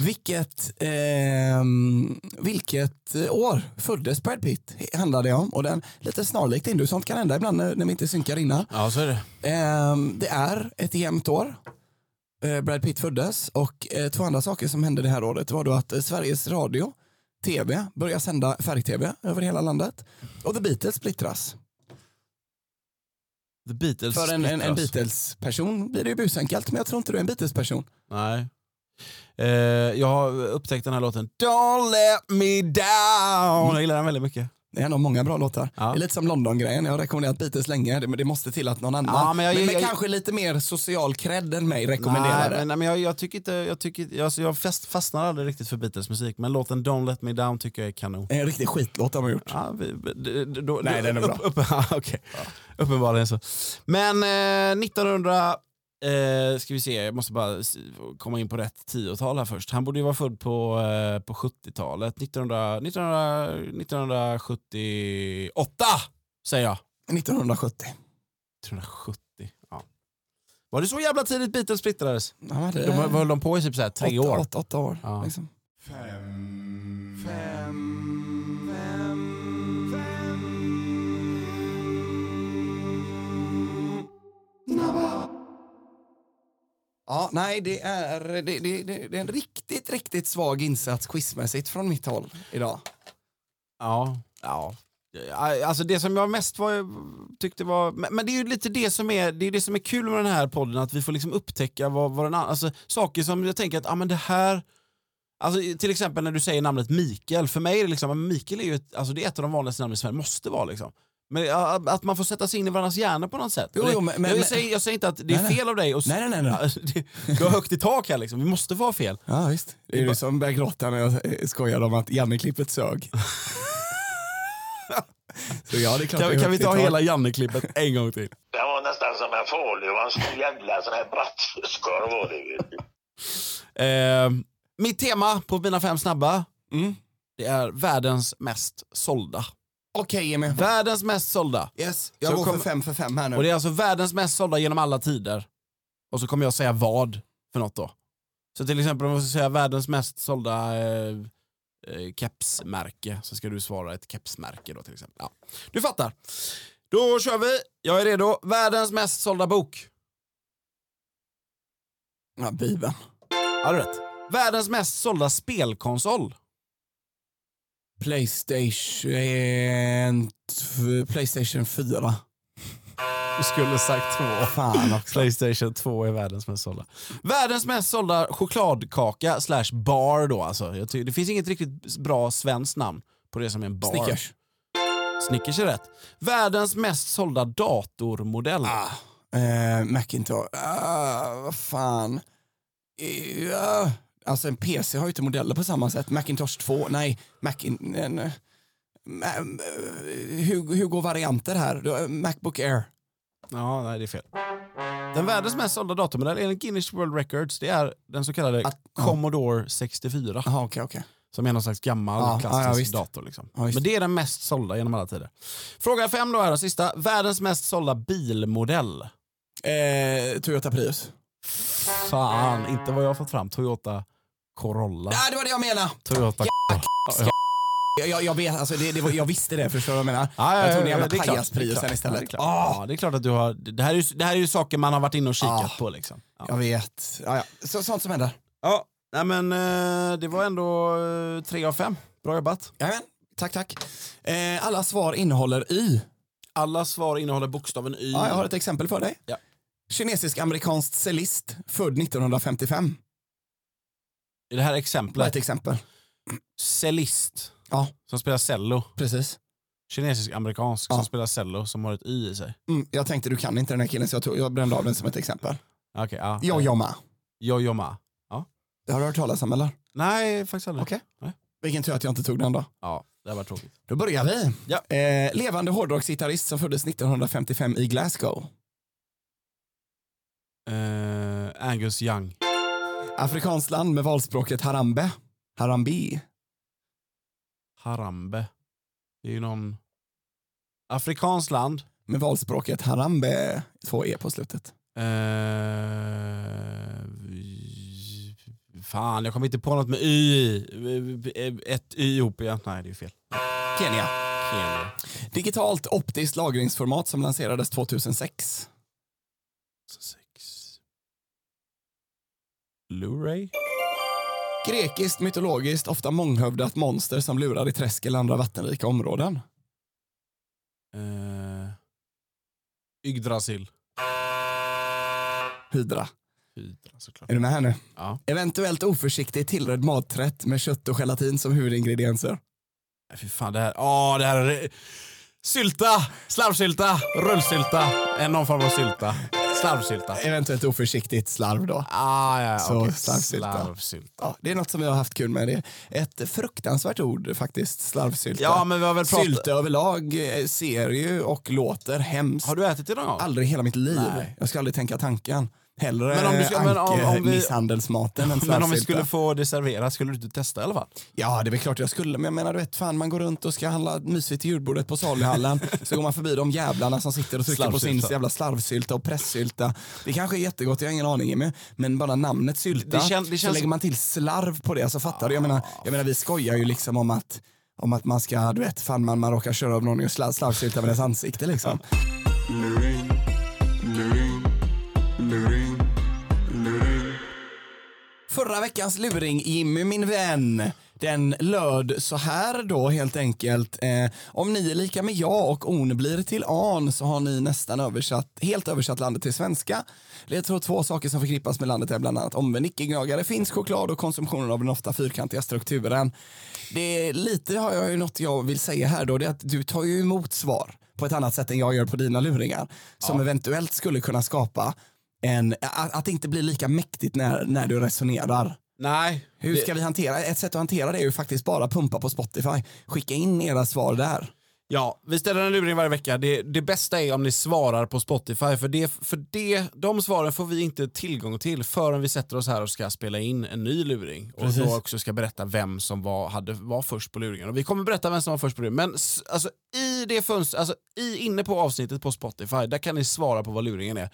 [SPEAKER 5] Vilket, ehm, vilket eh, år föddes Brad Pitt? Handlar det om. Och den, lite snarlikt din, du, sånt kan hända ibland när, när vi inte synkar innan.
[SPEAKER 4] ja, så är det.
[SPEAKER 5] Ehm, det är ett jämnt år. Eh, Brad Pitt föddes och eh, två andra saker som hände det här året var då att eh, Sveriges Radio, TV, börjar sända färg-TV över hela landet. Och The Beatles splittras.
[SPEAKER 4] The Beatles
[SPEAKER 5] För en, en, en
[SPEAKER 4] splittras.
[SPEAKER 5] Beatles-person blir det ju busenkelt, men jag tror inte du är en Beatles-person.
[SPEAKER 4] Nej. Eh, jag har upptäckt den här låten Don't let me down. Jag gillar den väldigt mycket.
[SPEAKER 5] Det är en av många bra låtar.
[SPEAKER 4] Ja.
[SPEAKER 5] Det är lite som London-grejen, jag har rekommenderat Beatles länge, det- men det måste till att någon annan.
[SPEAKER 4] Ja, men jag-
[SPEAKER 5] men,
[SPEAKER 4] jag-
[SPEAKER 5] kanske lite mer social cred än mig
[SPEAKER 4] Nej,
[SPEAKER 5] rekommenderar det.
[SPEAKER 4] men, nej, men jag, jag tycker inte, jag, tycker, jag- alltså, jag fast, fastnar aldrig riktigt för Beatles musik men låten Don't let me down tycker jag är kanon.
[SPEAKER 5] En riktig skitlåt har man gjort.
[SPEAKER 4] Ja, vi, d- d- då,
[SPEAKER 5] Nej, den är bra.
[SPEAKER 4] Upp, [LAUGHS] upp, ja, okej. Uppenbarligen så. Men eh, 1900, eh, ska vi se, jag måste bara s- komma in på rätt tiotal här först. Han borde ju vara född på, eh, på 70-talet, 1900, 1900, 1978 säger jag.
[SPEAKER 5] 1970.
[SPEAKER 4] 1970, ja. Var det så jävla tidigt Beatles splittrades?
[SPEAKER 5] Han hade
[SPEAKER 4] De höll höll de på i typ så här tre
[SPEAKER 5] åtta,
[SPEAKER 4] år.
[SPEAKER 5] Åtta, åtta år.
[SPEAKER 4] Ja.
[SPEAKER 5] Liksom. Ja, nej, det är, det, det, det, det är en riktigt, riktigt svag insats quizmässigt från mitt håll idag.
[SPEAKER 4] Ja. ja. Alltså det som jag mest var, tyckte var, men men det är ju lite det som är, det är det som är kul med den här podden, att vi får liksom upptäcka vad, vad den, an- alltså, saker som jag tänker att ah, men det här, alltså, till exempel när du säger namnet Mikael, för mig är det liksom, Mikael är ju ett, alltså, det är ett av de vanligaste namnen i Sverige, måste vara liksom. Men ja, att man får sätta sig in i varandras hjärna på något sätt.
[SPEAKER 5] Jo,
[SPEAKER 4] Och det,
[SPEAKER 5] jo, men- men-
[SPEAKER 4] jag,
[SPEAKER 5] men-
[SPEAKER 4] säger, jag säger inte att det är
[SPEAKER 5] Nej, nej.
[SPEAKER 4] fel av dig att s-
[SPEAKER 5] Nej, nej, nej, nej.
[SPEAKER 4] [LAUGHS] Alltså, det- Du har högt i tak här liksom, vi måste vara fel.
[SPEAKER 5] Ja, visst. Det är du som börjar gråta när jag skojade om att
[SPEAKER 4] [LAUGHS]
[SPEAKER 5] Janne-klippet sög. Så ja, det är klart
[SPEAKER 4] Kan,
[SPEAKER 5] det är
[SPEAKER 4] kan vi
[SPEAKER 5] högt i
[SPEAKER 4] ta
[SPEAKER 5] tak.
[SPEAKER 4] hela Janne-klippet en gång till?
[SPEAKER 6] Det var nästan som en farlig, det var en stor jävla sån här bratwurskorv var det ju.
[SPEAKER 4] Eh, mitt tema på mina fem snabba
[SPEAKER 5] Mm.
[SPEAKER 4] det är världens mest sålda.
[SPEAKER 5] Okej, Jimmy.
[SPEAKER 4] Världens mest sålda.
[SPEAKER 5] Yes, jag
[SPEAKER 4] Så
[SPEAKER 5] går
[SPEAKER 4] kom-
[SPEAKER 5] för fem för fem här nu.
[SPEAKER 4] Och det är alltså världens mest sålda genom alla tider. Och så kommer jag säga vad för något då. Så till exempel om jag ska säga världens mest sålda eh, eh, kepsmärke så ska du svara ett kepsmärke då till exempel. Ja. Du fattar. Då kör vi. Jag är redo. Världens mest sålda bok.
[SPEAKER 5] Ja, Bibeln.
[SPEAKER 4] Har du rätt? Världens mest sålda spelkonsol. eh,
[SPEAKER 5] Playstation... tf- Playstation 4.
[SPEAKER 4] Du skulle sagt två.
[SPEAKER 5] Fan också.
[SPEAKER 4] Playstation 2 är världens mest sålda. Världens mest sålda chokladkaka slash bar då alltså. Jag tycker, det finns inget riktigt bra svenskt namn på det som är en bar.
[SPEAKER 5] Snickers.
[SPEAKER 4] Snickers är rätt. Världens mest sålda datormodell.
[SPEAKER 5] Ah, eh, Macintosh. Ah, vad fan. Eh, alltså en PC har ju inte modeller på samma sätt. Macintosh 2, nej. Macin... En, eh, ma- eh, hur, hur går varianter här? Du har Macbook Air.
[SPEAKER 4] Ja, nej det är fel. Den världens mest sålda datormodell enligt Guinness World Records det är den så kallade
[SPEAKER 5] Att- ja.
[SPEAKER 4] Commodore 64.
[SPEAKER 5] Jaha, okej, okej.
[SPEAKER 4] Som är någon slags gammal
[SPEAKER 5] Ah. Ja, ja, ja,
[SPEAKER 4] klassisk
[SPEAKER 5] visst.
[SPEAKER 4] dator. Liksom.
[SPEAKER 5] Ja, visst.
[SPEAKER 4] Men det är den mest sålda genom alla tider. Fråga fem då här då, sista. Världens mest sålda bilmodell.
[SPEAKER 5] Eh, Toyota Prius.
[SPEAKER 4] Fan, inte vad jag har fått fram. Toyota Corolla.
[SPEAKER 5] Ja, det var det jag menade!
[SPEAKER 4] Toyota
[SPEAKER 5] Jag, jag, jag, vet, alltså det, det var, jag visste det, förstår du vad jag menar?
[SPEAKER 4] Ja, ja, ja,
[SPEAKER 5] jag tog den
[SPEAKER 4] ja,
[SPEAKER 5] jävla
[SPEAKER 4] det är klart, det är
[SPEAKER 5] pajaspriusen
[SPEAKER 4] klart. Ja,
[SPEAKER 5] istället.
[SPEAKER 4] det är klart. Ja, det är klart att du har... Det här är ju, det här är ju saker man har varit inne och kikat
[SPEAKER 5] Ah.
[SPEAKER 4] på liksom. Ja.
[SPEAKER 5] Jag vet. Ja, ja. Så, sånt som händer.
[SPEAKER 4] ja, nej men eh, det var ändå eh, tre av fem. Bra jobbat.
[SPEAKER 5] Jajamän. Tack, tack. Eh, alla svar innehåller Y.
[SPEAKER 4] Alla svar innehåller bokstaven Y.
[SPEAKER 5] Ja, jag har ett exempel för dig.
[SPEAKER 4] Ja.
[SPEAKER 5] Kinesisk-amerikansk cellist, född 1955.
[SPEAKER 4] Det här
[SPEAKER 5] Bara ett
[SPEAKER 4] exemplet.
[SPEAKER 5] exempel.
[SPEAKER 4] Cellist.
[SPEAKER 5] Ja.
[SPEAKER 4] Som spelar cello.
[SPEAKER 5] Precis.
[SPEAKER 4] Kinesisk-amerikansk
[SPEAKER 5] Ja.
[SPEAKER 4] som spelar cello som har ett Y i sig.
[SPEAKER 5] Mm, jag tänkte du kan inte den här killen så jag, tog, jag brände av den som ett exempel.
[SPEAKER 4] Okej, ja.
[SPEAKER 5] Jag jomma.
[SPEAKER 4] Jojo Ma.
[SPEAKER 5] Har du hört talas om eller?
[SPEAKER 4] Nej, faktiskt aldrig.
[SPEAKER 5] Okej.
[SPEAKER 4] Nej.
[SPEAKER 5] Vilken tur att jag inte tog den då.
[SPEAKER 4] Ja. Det här var tråkigt.
[SPEAKER 5] Då börjar vi.
[SPEAKER 4] Ja.
[SPEAKER 5] Eh, levande hårdrocksgitarrist som föddes 1955 i Glasgow.
[SPEAKER 4] Eh, Angus Young.
[SPEAKER 5] Afrikanskt land med valspråket harambe. Harambe.
[SPEAKER 4] Harambe. Det är ju någon... Afrikanskt land.
[SPEAKER 5] Med valspråket harambe. Två e på slutet.
[SPEAKER 4] Eh, vi- fan, jag kommer inte på något med Y. Ett Y ihop igen. Nej, det är ju fel.
[SPEAKER 5] Kenya.
[SPEAKER 4] Kenya.
[SPEAKER 5] Digitalt optiskt lagringsformat som lanserades 2006.
[SPEAKER 4] Sex. Blu-ray?
[SPEAKER 5] Grekiskt, mytologiskt, ofta månghövdat monster som lurar i träsk eller andra vattenrika områden.
[SPEAKER 4] Eh, Yggdrasil.
[SPEAKER 5] Hydra.
[SPEAKER 4] Hydra såklart.
[SPEAKER 5] Är du med här nu?
[SPEAKER 4] Ja.
[SPEAKER 5] Eventuellt oförsiktigt tillredd maträtt med kött och gelatin som huvudingredienser.
[SPEAKER 4] Nej, Fy fan, det här... Åh, det här är... Sylta! Slarvsylta! Rullsylta! Eh, Någon form av sylta. Slarvsylta.
[SPEAKER 5] Eventuellt oförsiktigt slarv då.
[SPEAKER 4] Ah, ja, ja,
[SPEAKER 5] Så,
[SPEAKER 4] okej.
[SPEAKER 5] slarvsylta.
[SPEAKER 4] Slarvsylta.
[SPEAKER 5] Ja, det är något som vi har haft kul med. Det är ett fruktansvärt ord faktiskt, slarvsylta.
[SPEAKER 4] Ja, men vi har väl pratat...
[SPEAKER 5] Sylte överlag eh, ser ju och låter hemskt.
[SPEAKER 4] Har du ätit det någon gång?
[SPEAKER 5] Aldrig i hela mitt liv.
[SPEAKER 4] Nej.
[SPEAKER 5] Jag ska aldrig tänka tanken. Hellre
[SPEAKER 4] Men om du ska- men om- om vi-
[SPEAKER 5] anke-misshandelsmaten än
[SPEAKER 4] [LAUGHS] Men om vi
[SPEAKER 5] slarvsylta.
[SPEAKER 4] skulle få det serverat, skulle du inte testa i alla fall?
[SPEAKER 5] Ja, det är väl klart jag skulle. Men jag menar, du vet, fan, man går runt och ska handla mysigt till julbordet
[SPEAKER 4] [LAUGHS]
[SPEAKER 5] på saluhallen. så går man förbi de jävlarna som sitter och trycker på sin
[SPEAKER 4] Slarvsylta.
[SPEAKER 5] jävla slarvsylta och pressylta. Det kanske är jättegott, jag har ingen aning Jimmy. Men bara namnet sylta,
[SPEAKER 4] Det kän- det
[SPEAKER 5] så
[SPEAKER 4] känns-
[SPEAKER 5] lägger man till slarv på det. Alltså fattar du? Jag menar, jag menar vi skojar ju liksom om att om att man ska, du vet, fan man, man råkar köra av någon och sla- slarvsylta med dess ansikte liksom. Förra veckans luring, Jimmy min vän, den löd så här då helt enkelt. Eh, om ni är lika med jag och on blir till an så har ni nästan översatt, helt översatt landet till svenska. Jag tror två saker som förknippas med landet är bland annat omvänd icke-gnagare, finsk choklad och konsumtionen av den ofta fyrkantiga strukturen. Det är lite har jag ju något jag vill säga här då, det är att du tar ju emot svar på ett annat sätt än jag gör på dina luringar som eventuellt skulle kunna skapa en, att, att det inte blir lika mäktigt när, när du resonerar.
[SPEAKER 4] Nej.
[SPEAKER 5] Hur ska vi hantera? Ett sätt att hantera det är ju faktiskt bara pumpa på Spotify. Skicka in era svar där.
[SPEAKER 4] Ja, vi ställer en luring varje vecka. Det, det bästa är om ni svarar på Spotify, för, det, för det, de svaren får vi inte tillgång till förrän vi sätter oss här och ska spela in en ny luring.
[SPEAKER 5] Precis.
[SPEAKER 4] Och då också ska berätta vem som var, hade, var först på luringen. Och vi kommer berätta vem som var först på luringen, men s- alltså, i det fönstret, alltså, i, inne på avsnittet på Spotify, där kan ni svara på vad luringen är.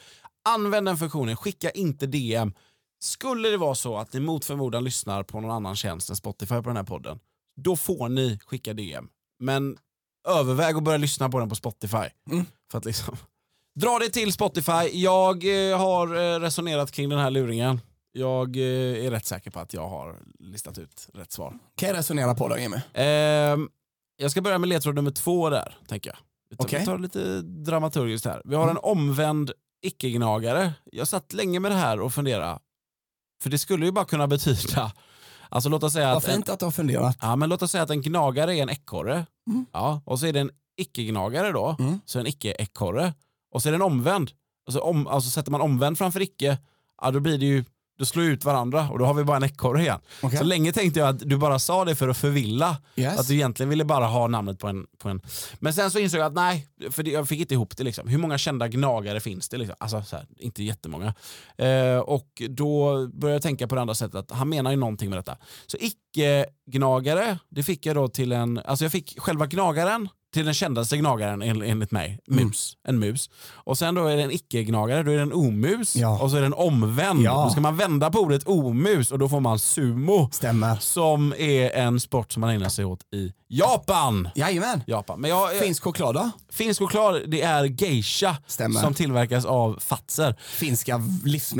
[SPEAKER 4] Använd den funktionen, skicka inte DM. Skulle det vara så att ni mot förmodan lyssnar på någon annan tjänst än Spotify på den här podden, då får ni skicka DM. Men överväg att börja lyssna på den på Spotify.
[SPEAKER 5] Mm.
[SPEAKER 4] För att liksom... Dra det till Spotify. Jag eh, har eh, resonerat kring den här luringen. Jag eh, är rätt säker på att jag har listat ut rätt svar.
[SPEAKER 5] Kan jag resonera på då Jimmy?
[SPEAKER 4] Ehm, jag ska börja med ledtråd nummer två där, tänker jag. Vi tar,
[SPEAKER 5] Okej. Mm.
[SPEAKER 4] vi tar det lite dramaturgiskt här. Vi har en omvänd icke-gnagare. Jag satt länge med det här och funderade. För det skulle ju bara kunna betyda, alltså låt oss säga
[SPEAKER 5] Vad
[SPEAKER 4] att en,
[SPEAKER 5] fint att du har funderat.
[SPEAKER 4] Ja, men låt oss säga att en gnagare är en ekorre. Ja, och så är det en icke-gnagare då,
[SPEAKER 5] Mm.
[SPEAKER 4] så en icke-ekorre. Och så är den omvänd. Och så, om, alltså sätter man omvänd framför icke, ja, då blir det ju då slår ut varandra och då har vi bara en ekorre igen.
[SPEAKER 5] Okej.
[SPEAKER 4] Så länge tänkte jag att du bara sa det för att förvilla.
[SPEAKER 5] Yes.
[SPEAKER 4] Att du egentligen ville bara ha namnet på en, på en... Men sen så insåg jag att nej, för det, jag fick inte ihop det. Liksom. Hur många kända gnagare finns det? Liksom? Alltså, så här, inte jättemånga. Eh, och då började jag tänka på det andra sättet, att han menar ju någonting med detta. Så icke-gnagare, det fick jag då till en... Alltså jag fick själva gnagaren till den kändaste gnagaren en- enligt mig,
[SPEAKER 5] Mm.
[SPEAKER 4] mus, en mus. Och sen då är det en icke-gnagare, då är det en omus
[SPEAKER 5] Ja.
[SPEAKER 4] och så är den omvänd.
[SPEAKER 5] Ja.
[SPEAKER 4] Då ska man vända på ordet omus och då får man sumo
[SPEAKER 5] Stämmer.
[SPEAKER 4] som är en sport som man ägnar sig åt i Japan.
[SPEAKER 5] Jajamän.
[SPEAKER 4] Japan. Men jag,
[SPEAKER 5] Finsk choklad då?
[SPEAKER 4] finsk choklad det är geisha
[SPEAKER 5] Stämmer.
[SPEAKER 4] som tillverkas av fatser.
[SPEAKER 5] Finska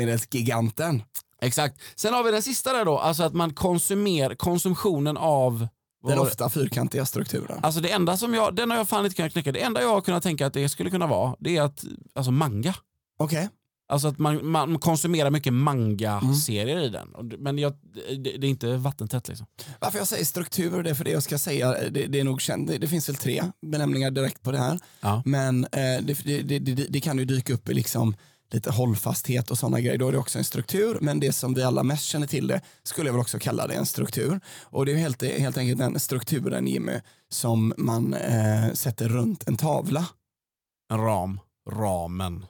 [SPEAKER 5] livsmedelsgiganten.
[SPEAKER 4] Exakt. Sen har vi den sista där då, alltså att man konsumerar konsumtionen av vad
[SPEAKER 5] Den
[SPEAKER 4] var det?
[SPEAKER 5] ofta fyrkantiga strukturen.
[SPEAKER 4] Alltså det enda som jag, den har jag fan inte kunnat knäcka. Det enda jag har kunnat tänka att det skulle kunna vara, det är att, alltså manga.
[SPEAKER 5] Okej.
[SPEAKER 4] Alltså att man, man konsumerar mycket manga-serier
[SPEAKER 5] Mm.
[SPEAKER 4] i den. Och det- Men jag, det, det är inte vattentätt liksom.
[SPEAKER 5] Varför jag säger struktur, det är för det jag ska säga. Det, det är nog känt. Det, det finns väl tre benämningar direkt på det här.
[SPEAKER 4] Ja.
[SPEAKER 5] Men eh, det, det, det, det, det kan ju dyka upp i liksom lite hållfasthet och sådana grejer, då är det också en struktur. Men det som vi alla mest känner till det skulle jag väl också kalla det en struktur. Och det är helt, helt enkelt den strukturen Jimmy som man eh, sätter runt en tavla.
[SPEAKER 4] En ram, ramen.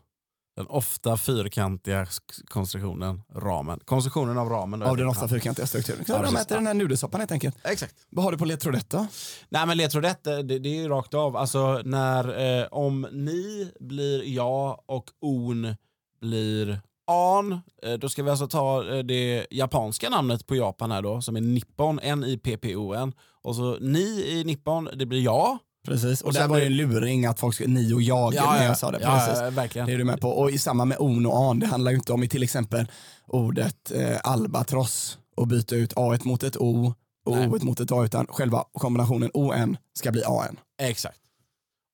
[SPEAKER 4] Den ofta fyrkantiga sk- konstruktionen, ramen. Konstruktionen av ramen. då.
[SPEAKER 5] Av den ofta
[SPEAKER 4] Ja.
[SPEAKER 5] fyrkantiga strukturen.
[SPEAKER 4] Ja,
[SPEAKER 5] Så de
[SPEAKER 4] precis.
[SPEAKER 5] äter den här nudelsoppan helt enkelt.
[SPEAKER 4] Exakt.
[SPEAKER 5] Vad har du på ledtråd då?
[SPEAKER 4] Nej men ledtrådrätt, det, det är ju rakt av. Alltså när, eh, om ni blir ja och on blir an, eh, då ska vi alltså ta eh, det japanska namnet på Japan här då, som är nippon, N-I-P-P-O-N. Och så ni i nippon, det blir ja.
[SPEAKER 5] Precis, och,
[SPEAKER 4] Och
[SPEAKER 5] där
[SPEAKER 4] sen
[SPEAKER 5] var det
[SPEAKER 4] blir-
[SPEAKER 5] en luring att folk skulle, ni och jag när jag sa det.
[SPEAKER 4] ja,
[SPEAKER 5] precis.
[SPEAKER 4] ja, verkligen.
[SPEAKER 5] Det är du med på. Och i samma med on och an, det handlar ju inte om i till exempel ordet eh, albatross och byta ut a mot ett o och
[SPEAKER 4] Nej.
[SPEAKER 5] o mot ett a utan själva kombinationen on ska bli an.
[SPEAKER 4] Exakt.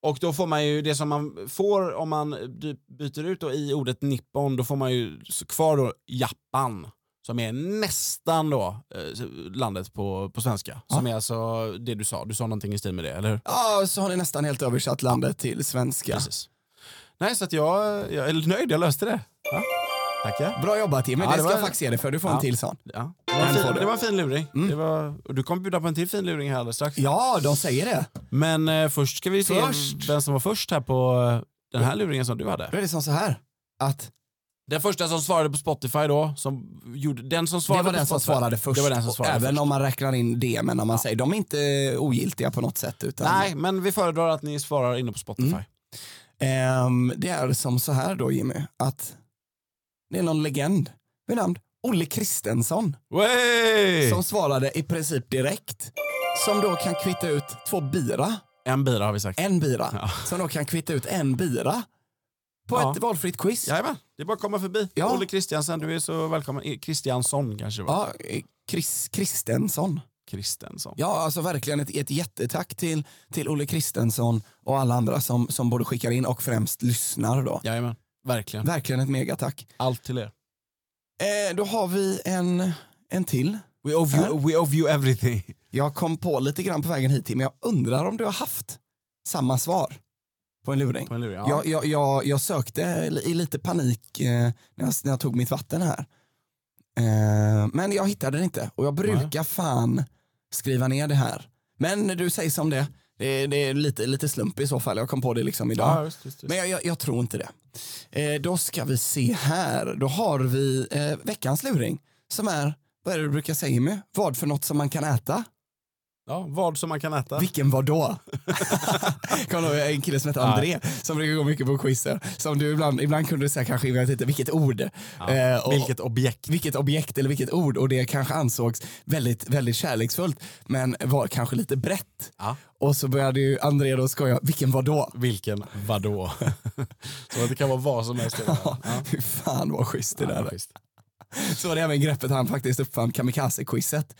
[SPEAKER 4] Och då får man ju det som man får om man by- byter ut då i ordet nippon, då får man ju s- kvar då Japan som är nästan då eh, s- landet på, på svenska. Som är alltså det du sa, du sa någonting i stil med det, eller hur?
[SPEAKER 5] Ja, så har ni nästan helt översatt landet till svenska.
[SPEAKER 4] Precis. Nej, så att jag, jag är nöjd, jag löste det. Ja. Tackar.
[SPEAKER 5] Bra jobbat Jimmy,
[SPEAKER 4] Ja,
[SPEAKER 5] det,
[SPEAKER 4] det
[SPEAKER 5] ska
[SPEAKER 4] var-
[SPEAKER 5] jag faktiskt ge dig för du får
[SPEAKER 4] Ja.
[SPEAKER 5] en till sån.
[SPEAKER 4] Ja. Det, var en
[SPEAKER 5] får
[SPEAKER 4] fin,
[SPEAKER 5] du. Mm.
[SPEAKER 4] det var en fin luring. Det var, och du kommer bjuda på en till fin luring här alldeles strax.
[SPEAKER 5] Ja, de säger det.
[SPEAKER 4] Men eh, först ska vi se
[SPEAKER 5] Först.
[SPEAKER 4] vem som var först här på eh, den här luringen som du hade.
[SPEAKER 5] Då är det som så här, att
[SPEAKER 4] Den första som svarade på Spotify då, som gjorde, den som
[SPEAKER 5] det
[SPEAKER 4] svarade
[SPEAKER 5] var
[SPEAKER 4] på
[SPEAKER 5] den som
[SPEAKER 4] Spotify,
[SPEAKER 5] svarade först.
[SPEAKER 4] Det var den som svarade
[SPEAKER 5] Även
[SPEAKER 4] först.
[SPEAKER 5] om man räknar in det, men om man säger de är inte ogiltiga på något sätt. Utan,
[SPEAKER 4] Nej, men vi föredrar att ni svarar inne på Spotify.
[SPEAKER 5] Mm. Ehm, det är som så här då Jimmy, att det är någon legend vid namn Olle Kristensson
[SPEAKER 4] Wey!
[SPEAKER 5] som svarade i princip direkt. Som då kan kvitta ut två bira,
[SPEAKER 4] En bira har vi sagt.
[SPEAKER 5] en bira,
[SPEAKER 4] Ja.
[SPEAKER 5] som då kan kvitta ut en bira på
[SPEAKER 4] Ja.
[SPEAKER 5] ett valfritt quiz. Ja,
[SPEAKER 4] Jajamän, det är bara att komma förbi.
[SPEAKER 5] Ja.
[SPEAKER 4] Olle Kristiansen, du är så välkommen. Eh, Kristiansson kanske det var.
[SPEAKER 5] eh, Chris, Kristensson.
[SPEAKER 4] Kristensson.
[SPEAKER 5] Ja, alltså verkligen ett, ett jättetack till, till Olle Kristensson och alla andra som, som både skickar in och främst lyssnar då.
[SPEAKER 4] Jajamän, verkligen.
[SPEAKER 5] Verkligen ett megatack.
[SPEAKER 4] Allt till er.
[SPEAKER 5] Eh, då har vi en, en till.
[SPEAKER 4] We owe you, we owe you everything.
[SPEAKER 5] Jag kom på lite grann på vägen hit, men jag undrar om du har haft samma svar på en luring.
[SPEAKER 4] På en luring, ja.
[SPEAKER 5] Jag, jag, jag, jag sökte i lite panik eh, när, jag, när jag tog mitt vatten här. Eh, men jag hittade det inte och jag brukar fan skriva ner det här. Men du säger som det, det, är- det är lite, lite slump i så fall. Jag kom på det liksom idag.
[SPEAKER 4] Ja, just, just, just.
[SPEAKER 5] Men jag, jag, jag tror inte det. Eh, då ska vi se här. Då har vi eh, veckans luring som är, vad är det du brukar säga Jimmy? Vad för något som man kan äta?
[SPEAKER 4] Ja, vad som man kan äta.
[SPEAKER 5] Vilken var [LAUGHS] då? Kommer du ihåg en kille som heter André som brukar gå mycket på quizer. Som du ibland, ibland kunde du säga kanske, jag vet inte, vilket ord. Eh, och,
[SPEAKER 4] Vilket objekt.
[SPEAKER 5] vilket objekt eller vilket ord och det kanske ansågs väldigt, väldigt kärleksfullt men var kanske lite brett.
[SPEAKER 4] Ja.
[SPEAKER 5] Och så började ju André då skoja, vilken var då?
[SPEAKER 4] Vilken vadå? [LAUGHS] så att det kan vara vad som helst. i världen. Ja.
[SPEAKER 5] [LAUGHS] Fy fan vad schysst det
[SPEAKER 4] Ja,
[SPEAKER 5] där.
[SPEAKER 4] men schysst.
[SPEAKER 5] Så var det även greppet han faktiskt uppfann, kamikaze-quizet.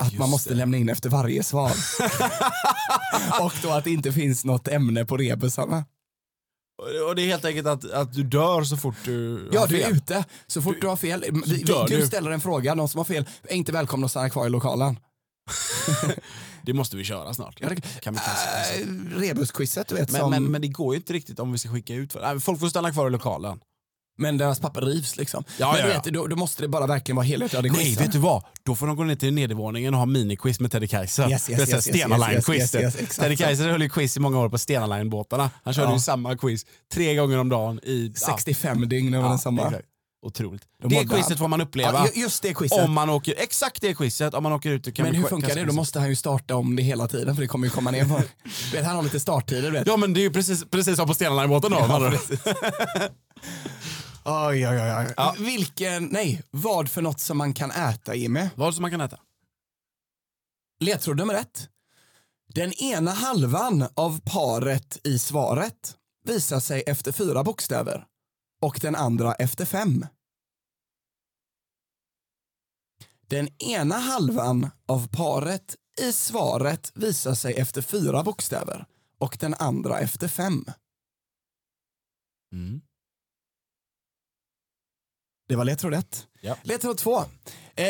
[SPEAKER 5] Att man måste
[SPEAKER 4] det.
[SPEAKER 5] lämna in efter
[SPEAKER 4] [LAUGHS]
[SPEAKER 5] varje svar. och då att det inte finns något ämne på rebusarna.
[SPEAKER 4] Och- Och det är helt enkelt att, att du dör så fort du
[SPEAKER 5] Ja,
[SPEAKER 4] har
[SPEAKER 5] du är
[SPEAKER 4] fel.
[SPEAKER 5] ute. Så fort du, har fel, vi, vi,
[SPEAKER 4] dör
[SPEAKER 5] du
[SPEAKER 4] du.
[SPEAKER 5] ställer en fråga, de som har fel är inte välkomna att stanna kvar i lokalen.
[SPEAKER 4] Det måste vi köra snart.
[SPEAKER 5] Ja, det-
[SPEAKER 4] Kan vi kasta oss?
[SPEAKER 5] Äh, rebusquizet du vet
[SPEAKER 4] men,
[SPEAKER 5] som...
[SPEAKER 4] men,
[SPEAKER 5] Men,
[SPEAKER 4] men det går ju inte riktigt om vi ska skicka ut. Nej, Folk får stanna kvar i lokalen.
[SPEAKER 5] deras papper rivs liksom.
[SPEAKER 4] Ja,
[SPEAKER 5] men du
[SPEAKER 4] ja, ja.
[SPEAKER 5] vet, då, då måste det bara verkligen vara helhjärtade
[SPEAKER 4] Nej, vet du vad? Då får de gå ner till nedervåningen och ha mini-quiz med Teddy Kaiser.
[SPEAKER 5] Yes, yes,
[SPEAKER 4] det är så här
[SPEAKER 5] yes, yes,
[SPEAKER 4] Stena
[SPEAKER 5] yes, yes,
[SPEAKER 4] Line-quiz.
[SPEAKER 5] yes, yes, exakt.
[SPEAKER 4] Teddy Kaiser höll ju quiz i många år på Stena Line-båtarna. Han körde
[SPEAKER 5] Ja.
[SPEAKER 4] ju samma quiz tre gånger om dagen i... ja,
[SPEAKER 5] 65 dygn över
[SPEAKER 4] ja,
[SPEAKER 5] den samma.
[SPEAKER 4] exakt. Otroligt.
[SPEAKER 5] De
[SPEAKER 4] det
[SPEAKER 5] mådde han.
[SPEAKER 4] quizet får man uppleva.
[SPEAKER 5] Ja, ju- just det quizet.
[SPEAKER 4] Om man åker, exakt det quizet, om man åker ut och kan
[SPEAKER 5] men
[SPEAKER 4] vi
[SPEAKER 5] hur
[SPEAKER 4] quiz-
[SPEAKER 5] funkar
[SPEAKER 4] kasta
[SPEAKER 5] det? Då
[SPEAKER 4] quizet.
[SPEAKER 5] måste han ju starta om det hela tiden för det kommer ju komma ner.
[SPEAKER 4] [LAUGHS]
[SPEAKER 5] på- du vet, han har lite starttider du vet.
[SPEAKER 4] Ja men det är ju precis, precis som på Stena Line-båten då. Ja,
[SPEAKER 5] Oj, oj, oj, oj. Vilken, nej, vad för något som man kan äta Jimmy?
[SPEAKER 4] vad som man kan äta.
[SPEAKER 5] Ledtråd nummer ett. Den ena halvan av paret i svaret visar sig efter fyra bokstäver och den andra efter fem. Den ena halvan av paret i svaret visar sig efter fyra bokstäver och den andra efter fem. Mm. Det var ledtråd ett.
[SPEAKER 4] Ja.
[SPEAKER 5] Ledtråd två. Eh,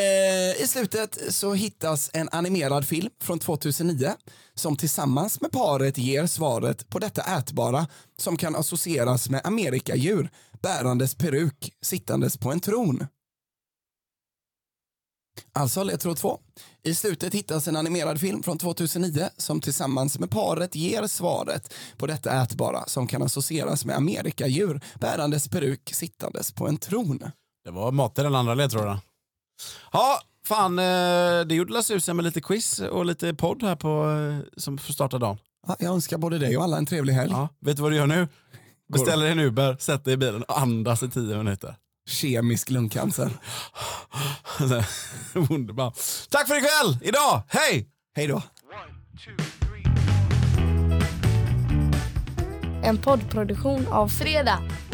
[SPEAKER 5] I slutet så hittas en animerad film från 2009 som tillsammans med paret ger svaret på detta ätbara som kan associeras med amerikadjur bärandes peruk, sittandes på en tron. Alltså ledtråd 2. I slutet hittas en animerad film från 2009 som tillsammans med paret ger svaret på detta ätbara som kan associeras med amerikadjur bärandes peruk sittandes på en tron.
[SPEAKER 4] Det var mat i den andra ledtråden. Ja, fan, eh, det gjorde la susen med lite quiz och lite podd här på, eh, som får starta dagen.
[SPEAKER 5] Ja, jag önskar både dig och alla en trevlig helg.
[SPEAKER 4] Ja, vet du vad du gör nu? Beställer en Uber, sätter dig i bilen och andas i tio minuter. [LAUGHS]
[SPEAKER 5] Kemisk lungcancer.
[SPEAKER 4] Alltså, [LAUGHS] Underbar. Tack för ikväll, idag, hej!
[SPEAKER 5] Hej då.
[SPEAKER 2] One, two, three, four.
[SPEAKER 9] En poddproduktion av Fredag.